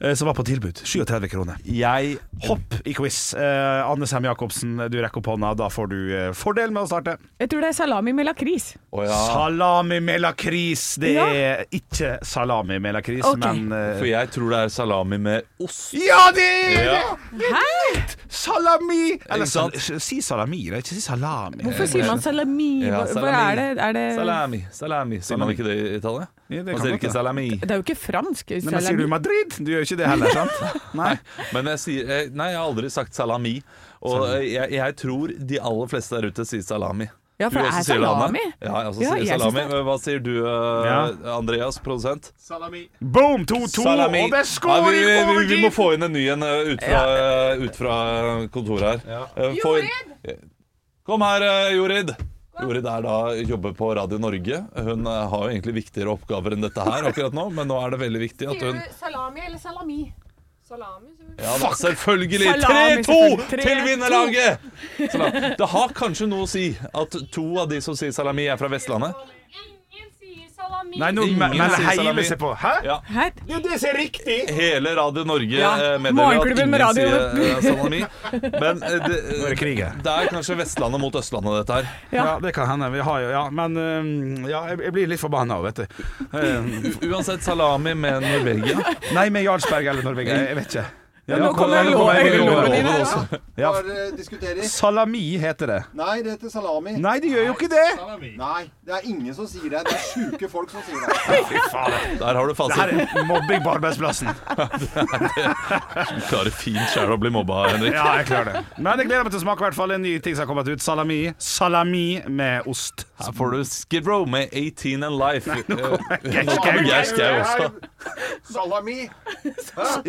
Speaker 4: eh, som var på tilbud. 37 kroner.
Speaker 3: Jeg
Speaker 4: Hopp i quiz. Eh, Anne Sem Jacobsen, du rekker opp hånda. Da får du eh, fordel med å starte.
Speaker 1: Jeg tror det er salami med lakris.
Speaker 3: Å ja.
Speaker 4: Salami med lakris. Det
Speaker 1: Ja.
Speaker 4: er ikke salami med lakris,
Speaker 1: Ok.
Speaker 4: men eh,
Speaker 3: For jeg tror det er salami med ost.
Speaker 4: Ja, det er det!
Speaker 3: Ja.
Speaker 1: Hæ?
Speaker 4: Salami! Eller
Speaker 3: Ikke sant?
Speaker 4: sal si salami, da. Ikke si salami.
Speaker 1: Hvorfor sier man salami?
Speaker 3: Ja,
Speaker 1: Hva hva
Speaker 3: salami.
Speaker 1: er det? Er det
Speaker 3: Salami. salami Sier man ikke det i Italia?
Speaker 4: Ja, det
Speaker 3: Man
Speaker 4: kan
Speaker 3: sier ikke
Speaker 4: godt det.
Speaker 3: salami.
Speaker 1: det er jo ikke fransk.
Speaker 4: Nei, men sier du
Speaker 1: Salami.
Speaker 4: Madrid? Du gjør ikke det heller, sant?
Speaker 1: (laughs)
Speaker 4: Nei.
Speaker 3: Men jeg sier eh, Nei, jeg har aldri sagt salami. Og eh, jeg, jeg tror de aller fleste der ute sier salami.
Speaker 1: Ja, for
Speaker 3: Du
Speaker 1: det
Speaker 3: også
Speaker 1: er
Speaker 3: sier det, Anne?
Speaker 1: salami.
Speaker 3: Ja, jeg også
Speaker 1: Ja,
Speaker 3: sier
Speaker 1: jeg syns
Speaker 3: salami.
Speaker 1: det.
Speaker 3: Hva sier du, eh,
Speaker 4: Ja.
Speaker 3: Andreas, produsent?
Speaker 4: Boom! 2-2,
Speaker 3: (laughs) Salami.
Speaker 4: og det er
Speaker 3: Ja, vi,
Speaker 4: scoring
Speaker 3: vi,
Speaker 4: over
Speaker 3: vi, må
Speaker 4: keep!
Speaker 3: få inn en ny en eh, ut fra, eh, ut fra kontoret her. Eh, få inn- Kom her, eh, Jorid. Jorid er da, jobber på Radio Norge. Hun eh, har jo egentlig viktigere oppgaver enn dette her akkurat nå, men nå er det veldig viktig at hun
Speaker 9: salami eller salami? Salami, selvfølgelig.
Speaker 3: Ja, da, selvfølgelig!
Speaker 1: Salami,
Speaker 3: 3-2
Speaker 1: selvfølgelig.
Speaker 3: til
Speaker 1: 3-2.
Speaker 3: vinnerlaget! Salam. Det har kanskje noe å si at to av de som sier salami, er fra Vestlandet.
Speaker 9: Ingen sier salami.
Speaker 4: Nei, nå
Speaker 3: Ingen
Speaker 4: melder
Speaker 3: sier
Speaker 4: hele
Speaker 3: salami.
Speaker 4: seg på. Hæ?
Speaker 3: Ja.
Speaker 1: Hæ?
Speaker 4: Jo, det ser riktig!
Speaker 3: Hele Radio Norge
Speaker 1: Ja,
Speaker 3: eh, meddeler at
Speaker 1: Morgenklubben
Speaker 3: ingen
Speaker 1: med radio.
Speaker 3: sier eh, salami. Men eh, det,
Speaker 4: Nå er det krig her.
Speaker 3: det er kanskje Vestlandet mot Østlandet, dette her.
Speaker 4: Ja. det kan hende. Vi har jo Ja, men øhm, ja, jeg jeg blir litt forbanna òg, vet du. Øhm,
Speaker 3: Uansett, salami med Norvegia.
Speaker 4: nei, med Jarlsberg eller Norvegia. Jeg vet ikke. Ja,
Speaker 1: nå kommer
Speaker 4: nå
Speaker 1: loven-
Speaker 4: jeg-
Speaker 1: loven
Speaker 3: inn her,
Speaker 4: også. Ja.
Speaker 10: Bare eh, diskuterer.
Speaker 4: Salami heter det.
Speaker 10: Nei, det heter salami.
Speaker 4: Nei, det gjør jo ikke det!
Speaker 10: Nei, det er ingen som sier det. Det er sjuke folk som sier
Speaker 4: (laughs)
Speaker 10: det.
Speaker 3: Der har du
Speaker 4: Det her
Speaker 3: fasiten.
Speaker 4: er mobbing på arbeidsplassen.
Speaker 3: Du klarer fint sjæl å bli mobba, Henrik.
Speaker 4: Ja, jeg klarer det. Men jeg gleder meg til å smake i hvert fall en ny ting som har kommet ut. Salami. Salami med ost.
Speaker 3: Her får du Skid Row med 18 and Life. Eh, Nå
Speaker 4: Geir Skau.
Speaker 3: kommer Geir Skau også.
Speaker 10: Salami.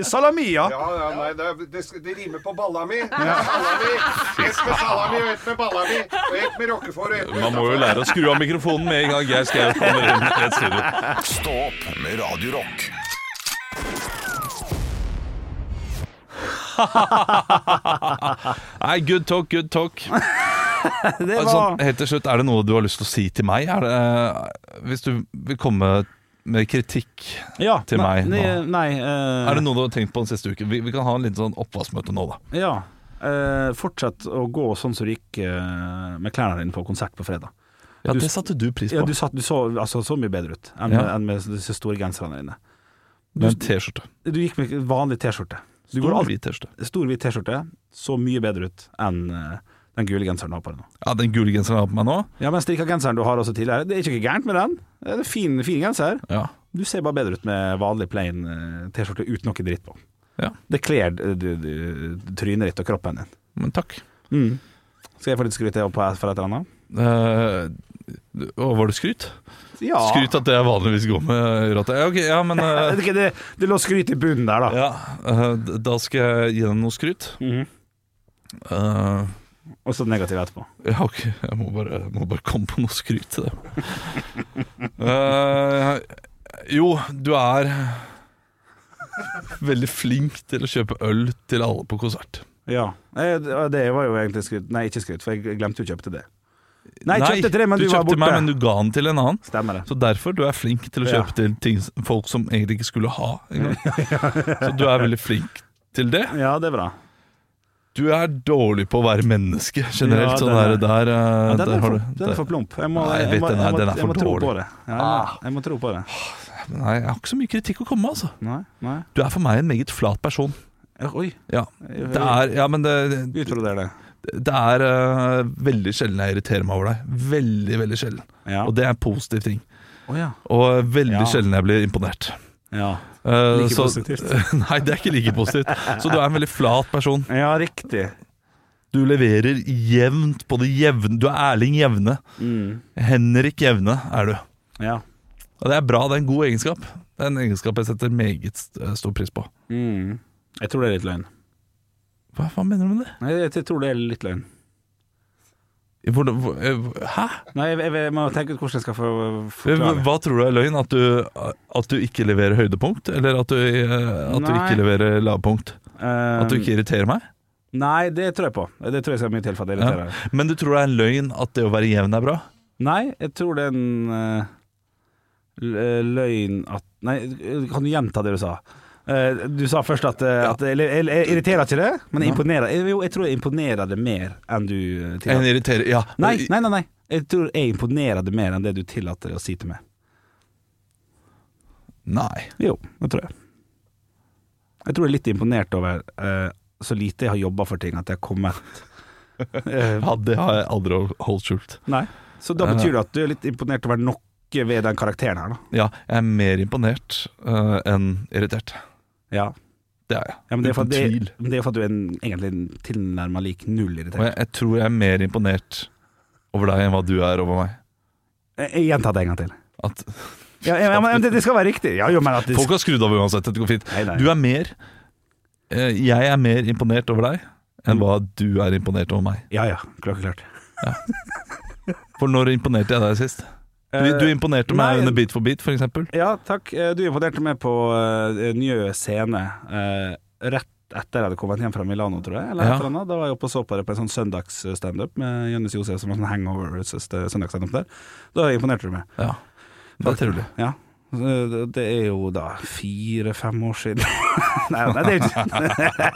Speaker 4: Salami, ja.
Speaker 10: Ja, ja, nei, det, er- det, sk- det rimer på balla mi. Salami. Ett med salami og ett med balla mi. Og ett med rockefòr og ett med
Speaker 3: Man må jo lære å skru av mikrofonen med en gang Geir Skau kommer inn i et studio.
Speaker 2: Stå opp med Radio Rock.
Speaker 3: Nei, good talk, good talk.
Speaker 4: Det
Speaker 3: Sånn,
Speaker 4: var
Speaker 3: helt til slutt, er det noe du har lyst til å si til meg? Er det, eh, hvis du vil komme med kritikk
Speaker 4: ja,
Speaker 3: til
Speaker 4: nei,
Speaker 3: meg nå.
Speaker 4: Nei, nei eh,
Speaker 3: Er det noe du har tenkt på den siste uken? Vi, vi kan ha en liten sånn oppvaskmøte nå, da.
Speaker 4: Ja. eh, fortsett å gå sånn som du gikk eh, med klærne dine på konsert på fredag.
Speaker 3: Ja, Det satte du pris
Speaker 4: Ja,
Speaker 3: på.
Speaker 4: du, satt, du så altså, så mye bedre ut enn med,
Speaker 3: Ja.
Speaker 4: enn med disse store genserne dine.
Speaker 3: Med en T-skjorte.
Speaker 4: Du gikk med vanlig T-skjorte. Du går
Speaker 3: Stor,
Speaker 4: alltid
Speaker 3: hvit T-skjorte.
Speaker 4: Stor, hvit T-skjorte. Så mye bedre ut enn eh, den gule genseren du har på deg nå.
Speaker 3: Ja, den gule genseren jeg har på meg nå.
Speaker 4: Ja, men strikka genseren du har også tidligere, det er ikke noe gærent med den. Det er en fin, fin genser.
Speaker 3: Ja.
Speaker 4: Du ser bare bedre ut med vanlig plain eh, T-skjorte uten noe dritt på.
Speaker 3: Ja.
Speaker 4: Det kler eh, du- du- trynet ditt og kroppen din. Mm.
Speaker 3: Men takk.
Speaker 4: Skal jeg få litt skryt jeg, på for et eller annet?
Speaker 3: Eh, du- å, var det skryt?
Speaker 4: Ja.
Speaker 3: Skryt at det jeg vanligvis går med rotta. Ja, ok, ja,
Speaker 4: (laughs)
Speaker 3: men eh,
Speaker 4: Det, det, det lå skryt i bunnen der, da.
Speaker 3: ja, eh, d- Da skal jeg gi deg noe skryt.
Speaker 4: Mhm.
Speaker 3: Eh,
Speaker 4: Og så det negative etterpå.
Speaker 3: ja, ok, jeg må bare, må bare komme på noe skryt til det.
Speaker 4: (laughs)
Speaker 3: Eh, jo, du er veldig flink til å kjøpe øl til alle på konsert.
Speaker 4: Ja. Eh, Det det var jo egentlig skryt. Nei, ikke skryt, for jeg glemte å kjøpe til det.
Speaker 3: Nei,
Speaker 4: Nei, jeg kjøpte til det, men
Speaker 3: du
Speaker 4: du, var
Speaker 3: kjøpte
Speaker 4: borte.
Speaker 3: meg, men du ga den til en annen.
Speaker 4: Stemmer det.
Speaker 3: Så derfor du er flink til å
Speaker 4: Ja.
Speaker 3: kjøpe til ting, folk som egentlig ikke skulle ha engang. Så du er veldig flink til det.
Speaker 4: Ja, det er bra.
Speaker 3: Du er dårlig på å være menneske generelt.
Speaker 4: Ja,
Speaker 3: sånn der,
Speaker 4: den
Speaker 3: der, eh,
Speaker 4: Ja, den,
Speaker 3: der
Speaker 4: er
Speaker 3: har
Speaker 4: for,
Speaker 3: du
Speaker 4: den er for plump. Jeg må,
Speaker 3: Nei, jeg
Speaker 4: jeg
Speaker 3: vet
Speaker 4: må,
Speaker 3: den er-
Speaker 4: jeg må,
Speaker 3: den er
Speaker 4: jeg må
Speaker 3: for Ah.
Speaker 4: tro
Speaker 3: dårlig.
Speaker 4: på det. Ja, jeg må- jeg må tro på det.
Speaker 3: Nei, jeg har ikke så mye kritikk å komme med, altså.
Speaker 4: Nei, nei.
Speaker 3: Du er for meg en meget flat person.
Speaker 4: Ja, Oi,
Speaker 3: Ja, det er, ja men det,
Speaker 4: utroder det.
Speaker 3: det er eh, veldig sjelden jeg irriterer meg over deg. Veldig, veldig sjelden.
Speaker 4: Ja.
Speaker 3: Og det er en positiv ting.
Speaker 4: Å ja.
Speaker 3: Og veldig
Speaker 4: Ja.
Speaker 3: sjelden jeg blir imponert.
Speaker 4: ja.
Speaker 3: Eh,
Speaker 4: Like
Speaker 3: så, (laughs)
Speaker 4: positivt.
Speaker 3: Nei, det er ikke like positivt. Så du er en veldig flat person.
Speaker 4: Ja, riktig.
Speaker 3: Du leverer jevnt på det jevne. Du er Erling Jevne.
Speaker 4: Mm.
Speaker 3: Henrik Jevne er du.
Speaker 4: Ja.
Speaker 3: Og det er bra. Det er en god egenskap. Det er en egenskap jeg setter meget eh, stor pris på.
Speaker 4: Mm. Jeg tror det er litt løgn.
Speaker 3: Hva faen mener du med det?
Speaker 4: Nei, jeg, jeg tror det er litt løgn.
Speaker 3: Hvordan- hvor- eh, Hæ?
Speaker 4: Nei, jeg, jeg, jeg må tenke ut hvordan jeg skal få forklare.
Speaker 3: Hva tror du er løgn? At du, at du ikke leverer høydepunkt? Eller at du, eh, at du
Speaker 4: Nei.
Speaker 3: ikke leverer lavpunkt?
Speaker 4: Eh,
Speaker 3: At du ikke irriterer meg?
Speaker 4: Nei, det tror jeg på. Det tror jeg skal mye til for at jeg
Speaker 3: Ja.
Speaker 4: irriterer deg.
Speaker 3: Men du tror det er en løgn at det å være jevn er bra?
Speaker 4: Nei, jeg tror det er en eh, l- eh, løgn at Nei, kan du gjenta det du sa? Eh, du sa først at, eh, at jeg, jeg, jeg irriterer ikke det, men jeg imponerer. Jeg, jo, jeg tror jeg imponerer det mer enn du eh,
Speaker 3: En
Speaker 4: tillater.
Speaker 3: irriterer, ja.
Speaker 4: Nei, nei, nei, nei. Jeg tror jeg imponerer det mer enn det du tillater å si til meg.
Speaker 3: Nei.
Speaker 4: Jo, det tror jeg. Jeg tror jeg er litt imponert over eh, så lite jeg har jobba for ting, at jeg har kommet eh,
Speaker 3: Ja, det har jeg aldri holdt skjult.
Speaker 4: Nei. Eh. Så da betyr det at du er litt imponert over noe ved den karakteren her, da.
Speaker 3: Ja, jeg er mer imponert eh, enn irritert.
Speaker 4: Ja.
Speaker 3: Det er jeg.
Speaker 4: Ja, men det er for at,
Speaker 3: Uten tvil.
Speaker 4: det, men det er for at du er en, egentlig en tilnærma lik null
Speaker 3: Og
Speaker 4: irritert.
Speaker 3: jeg, jeg tror jeg er mer imponert over deg enn hva du er over meg.
Speaker 4: Jeg, jeg gjentar Eh, det en gang til.
Speaker 3: At
Speaker 4: Ja, ja, ja, men det, det skal være riktig. Ja, jo, men at det,
Speaker 3: Folk har skrudd av uansett, dette går fint.
Speaker 4: Nei, nei.
Speaker 3: Du er mer eh, Jeg er mer imponert over deg
Speaker 4: Mm.
Speaker 3: enn hva du er imponert over meg.
Speaker 4: ja, ja, klart, klart.
Speaker 3: For når imponerte jeg deg sist? Du,
Speaker 4: Eh,
Speaker 3: du imponerte meg
Speaker 4: nei.
Speaker 3: under Beat for beat, for eksempel.
Speaker 4: Ja, takk. Eh, Du imponerte meg på eh, Njø scene eh, rett etter jeg hadde kommet hjem fra Milano, tror jeg. Eller et
Speaker 3: Ja.
Speaker 4: eller annet. Da var jeg oppe og så på det på en sånn søndagsstandup med Jonis Josef, som var sånn hangover søndagsstandup der. Da imponerte du meg.
Speaker 3: Ja, det er
Speaker 4: (laughs)
Speaker 3: trolig.
Speaker 4: Ja. Eh, Det er jo da fire-fem år siden. (laughs) nei, nei, det er jo ikke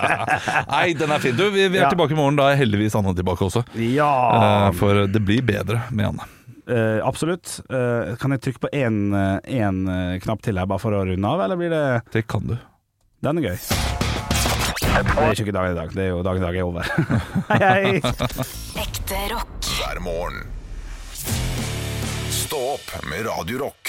Speaker 3: (laughs) Nei, den er fin. Du, vi, vi er
Speaker 4: Ja. Ah,
Speaker 3: tilbake i morgen. Da er heldigvis Anne tilbake også.
Speaker 4: Ja!
Speaker 3: Eh, for det blir bedre med Anne.
Speaker 4: Eh, absolutt. Eh, kan jeg trykke på én uh, knapp til her, bare for å runde av, eller blir det
Speaker 3: Det kan du.
Speaker 4: Den er gøy. Det er jo ikke dagen i dag. Det er jo dagen i dag er over. hei, hei!
Speaker 8: Ekte rock.
Speaker 2: hver morgen. Stå opp med Radio Rock.